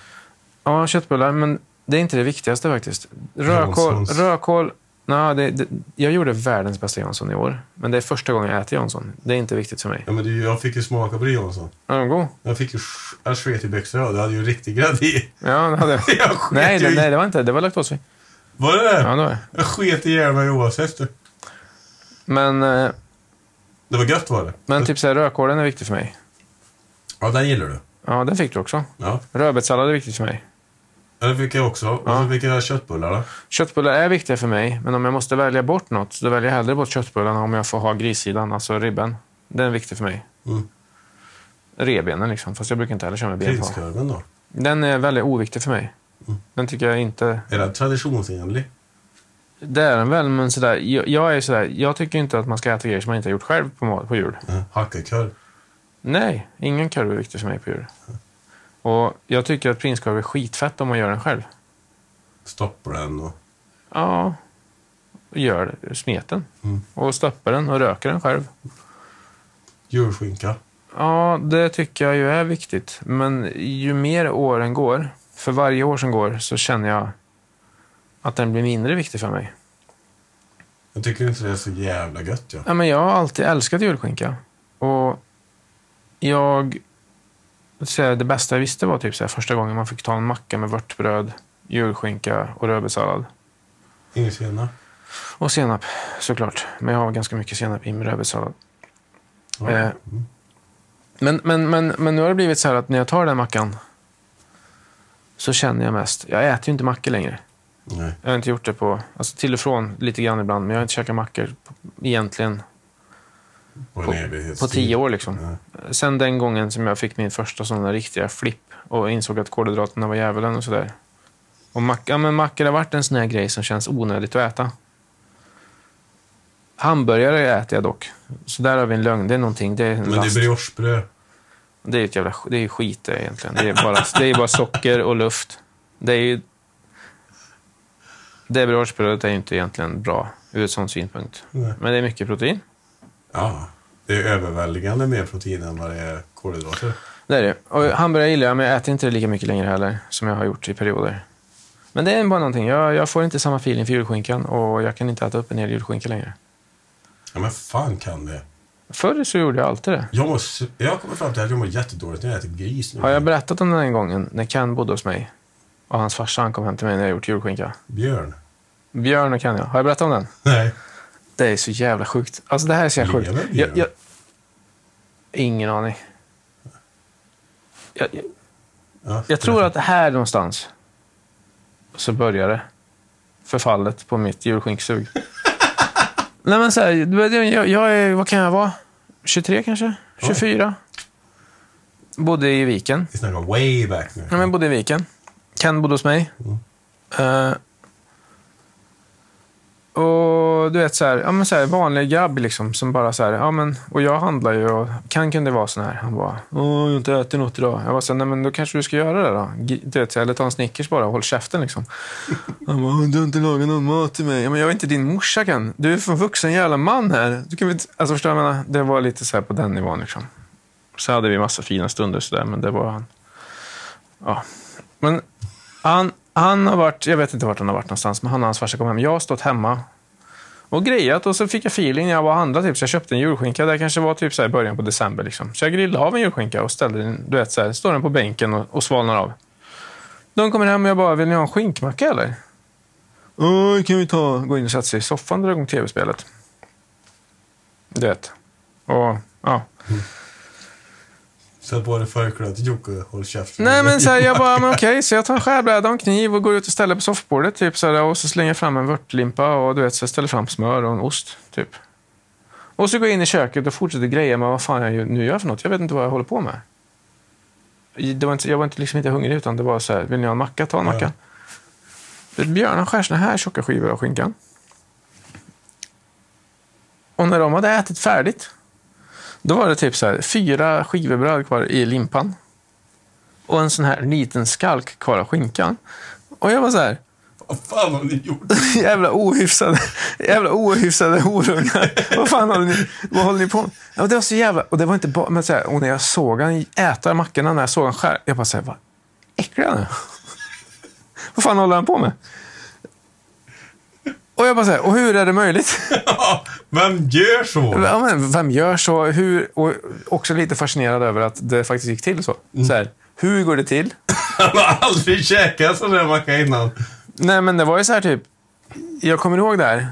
ja, köttbullar, men det är inte det viktigaste faktiskt. Rödkål,
Janssons.
rödkål. Nej, det, det, jag gjorde världens bästa Jansson i år, men det är första gången jag äter Jansson. Det är inte viktigt för mig.
Ja, men du, jag fick ju smaka på det Jansson.
Är den god?
Jag fick ju... sch- Jag sket i byxorna. och Det hade ju riktig grädde i.
Ja, det hade jag.
Jag sket
Nej,
ju
det,
i-
nej, det var inte. Det var laktosfri.
Var det det?
Ja, det var det.
Jag sket ihjäl mig oavsett. du.
Men, eh,
Det var gött var det.
men typ så här, rödkålen är viktig för mig.
Ja, den gillar du.
Ja, den fick du också.
Ja.
Rödbetssallad är viktigt för mig.
Ja, det fick jag också. Och
Ja.
så fick jag köttbullarna.
Köttbullar är viktiga för mig, men om jag måste välja bort något så väljer jag hellre bort köttbullarna om jag får ha grissidan, alltså ribben. Den är viktig för mig.
Mm.
Rebenen liksom, fast jag brukar inte heller köra med ben på.
Prinskorven då?
Den är väldigt oviktig för mig.
Mm.
Den tycker jag inte...
Är den traditionsenlig?
Det är den väl, men sådär, jag, jag är ju sådär, jag tycker inte att man ska äta grejer som man inte har gjort själv på, må- på jul.
Ja. Hackekör.
Nej, ingen korv är viktig för mig på jul. Och jag tycker att prinskorv är skitfett om man gör den själv.
Stoppar den och...
Ja, gör det, smet den.
Mm.
Och stoppar den och röker den själv.
Julskinka.
Ja, det tycker jag ju är viktigt. Men ju mer åren går, för varje år som går, så känner jag att den blir mindre viktig för mig.
Jag tycker inte det är så jävla gött ja.
Ja, men jag har alltid älskat julskinka. Och jag... Så här, det bästa jag visste var typ så här, första gången man fick ta en macka med vörtbröd, julskinka och rödbetssallad.
Ingen sena.
Och senap såklart. Men jag har ganska mycket senap i min rödbetssallad.
Ja. Mm.
Eh, men, men, men, men nu har det blivit så här att när jag tar den mackan så känner jag mest, jag äter ju inte mackor längre.
Nej.
Jag har inte gjort det på, alltså till och från lite grann ibland, men jag har inte käkat mackor på, egentligen
På,
På-
en evighetstid.
på tio år liksom.
Ja.
Sen den gången som jag fick min första sådana riktiga flipp och insåg att kolhydraterna var djävulen och sådär. Och mack, ja, men mackor har varit en sån här grej som känns onödigt att äta. Hamburgare äter jag dock. Så där har vi en lögn. Det är någonting. Det är en
Men det är
last.
briochebröd.
Det är ju ett jävla sk- det är ju skit det egentligen. Det är, bara, det är ju bara socker och luft. Det är ju... Det briochebrödet är ju inte egentligen bra ur ett sånt synpunkt.
Nej.
Men det är mycket protein.
Ja. Det är överväldigande mer protein än vad det är kolhydrater.
Det är det. Och hamburgare gillar jag, men jag äter inte det lika mycket längre heller. Som jag har gjort i perioder. Men det är bara någonting. Jag, jag får inte samma feeling för julskinkan och jag kan inte äta upp en hel julskinka längre.
Ja men fan kan det?
Förr så gjorde jag alltid det.
Jag, mår su- jag har kommit fram till att jag mår jättedåligt när jag äter gris nu.
Har jag berättat om den här gången när Ken bodde hos mig? Och hans farsa han kom hem till mig när jag gjort julskinka.
Björn.
Björn och Ken, ja. Har jag berättat om den?
Nej.
Det är så jävla sjukt. Alltså det här är så jävla sjukt.
Lever vi
Jag,
då?
jag... Ingen aning. Jag, jag,
Ja,
jag tror att här någonstans så börjar det. Förfallet på mitt julskinksug. Nej men så här, du vet, jag, jag är, vad kan jag vara? 23 kanske? 24? Bodde i Viken.
Vi snackar way back nu.
Ja, men jag bodde i Viken. Ken bodde hos mig. Eh, och du vet, så här, ja, men så här, vanlig grabb liksom, som bara så här, ja men, och jag handlar ju och kan kunde vara sån här. Han bara, Åh, jag har inte ätit något idag. Jag var så här, nej men då kanske du ska göra det då. G- Du vet, så här, eller ta en Snickers bara och håll käften liksom. Han bara, du har inte lagat någon mat till mig. Ja, men jag är inte din morsa kan. Du är för vuxen jävla man här. Du kan väl inte... Alltså förstår du vad jag menar? Det var lite så här på den nivån liksom. Så hade vi massa fina stunder så där, men det var han. Ja. Men han, han har varit, jag vet inte vart han har varit någonstans, men han och hans farsa kom hem. Jag har stått hemma och grejat och så fick jag feeling när jag var och handlade. Typ, så jag köpte en julskinka. Det här kanske var typ så här i början på december. Liksom. Så jag grillade av en julskinka och ställde den, du vet, så här, står den på bänken och, och svalnar av. De kommer hem och jag bara, vill ni ha en skinkmacka eller? Åh, kan vi ta. Gå in och sätta sig i soffan och dra igång tv-spelet. Du vet. Och, ja.
Sätt på dig förklädet. Jocke, håll käften.
Nej, men så här, jag bara, men okej, så jag tar en skärbräda och en kniv och går ut och ställer på soffbordet typ, så här, och så slänger jag fram en vörtlimpa och du vet, så jag ställer fram smör och en ost. Typ. Och så går jag in i köket och fortsätter greja med vad fan jag ju- nu gör för något. Jag vet inte vad jag håller på med. Det var inte, jag var inte, liksom inte hungrig, utan det var så här, vill ni ha en macka? Ta en
Ja.
macka. Björn han skär såna här tjocka skivor av skinkan. Och när de hade ätit färdigt, då var det typ så här, fyra skivor bröd kvar i limpan. Och en sån här liten skalk kvar av skinkan. Och jag var så här,
Vad fan har ni gjort?
jävla ohyfsade, jävla ohyfsade horungar. Vad fan håller ni, vad håller ni på med? Ja, det var så jävla, och det var inte bara, men så här, och när jag såg han äta mackorna, när jag såg han skär, jag bara så här, vad äcklig han är. Vad fan håller han på med? Och jag bara så här, och hur är det möjligt?
Vem gör så?
Ja, men vem gör så? Hur, och också lite fascinerad över att det faktiskt gick till så. så här, hur går det till?
Han har aldrig käkat sån där macka innan.
Nej, men det var ju så här typ. Jag kommer ihåg det här.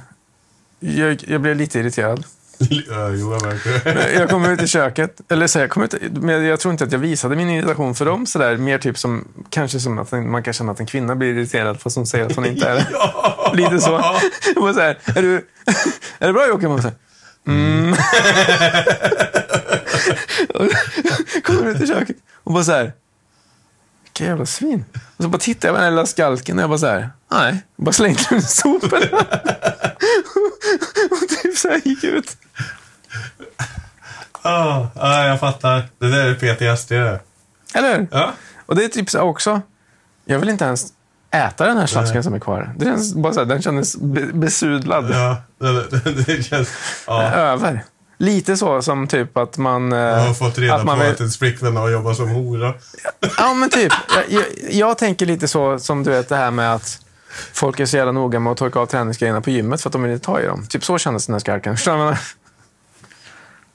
Jag, jag blev lite irriterad.
Ja, jo, jag märker det.
Eh, Jag kom ut i köket. Eller så här, jag, kom ut, men jag tror inte att jag visade min irritation för dem. Så där, mer typ som, kanske som att en- man kan känna att en kvinna blir irriterad fast hon säger att hon inte är det.
Ja.
Lite så. Jag bara så här, är, du, är det bra Jocke? Man bara så här, mm. Och Kommer ut i köket och bara så här. Vilka jävla svin. Och så bara tittar jag på den här lilla skalken och jag bara så här. Nej. Bara slängde den i soporna. och typ så här gick ut.
Ja, ja, jag fattar. Det där är PTSD det.
Eller hur?
Ja.
Och det är typ så här också. Jag vill inte ens äta den här slasken som är kvar. Det känns bara så här, den kändes be- besudlad.
Ja, det, det, det känns... Ja.
över. Lite så som typ att man... eh,
Jag har fått reda
att man
på
vill-
att ens flickvän har jobbat som hora.
Ja, men typ. Jag, jag, jag tänker lite så som du vet det här med att folk är så jävla noga med att torka av träningsgrejerna på gymmet för att de vill inte ta i dem. Typ så kändes den här skalken. Förstår du? vad jag menar?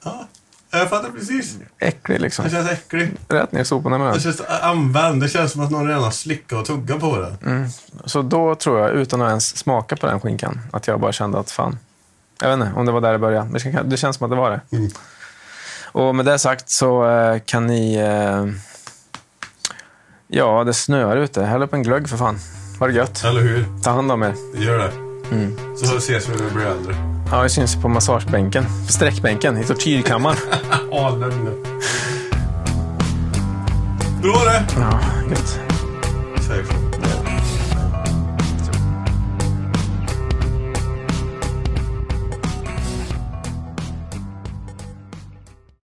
Ja, jag fattar precis.
Äcklig liksom.
Det känns äckligt.
Rätt ner i soporna med
Det
den.
känns använd. Det känns som att någon redan har slickat och tuggat på den.
Så då tror jag, utan att ens smaka på den skinkan, att jag bara kände att fan. Jag vet inte om det var där det började. Det kän- Det känns som att det var det.
Mm.
Och med det sagt så eh, kan ni... eh, Ja, det snöar ute. Häll upp en glögg för fan. Var det gött.
Eller hur?
Ta hand om er.
Gör det. Så ses vi när vi blir äldre.
Ja, vi syns på massagebänken. På sträckbänken i tortyrkammaren.
Ja, lugn nu. Bra det!
Ja, gött.
Säger folk.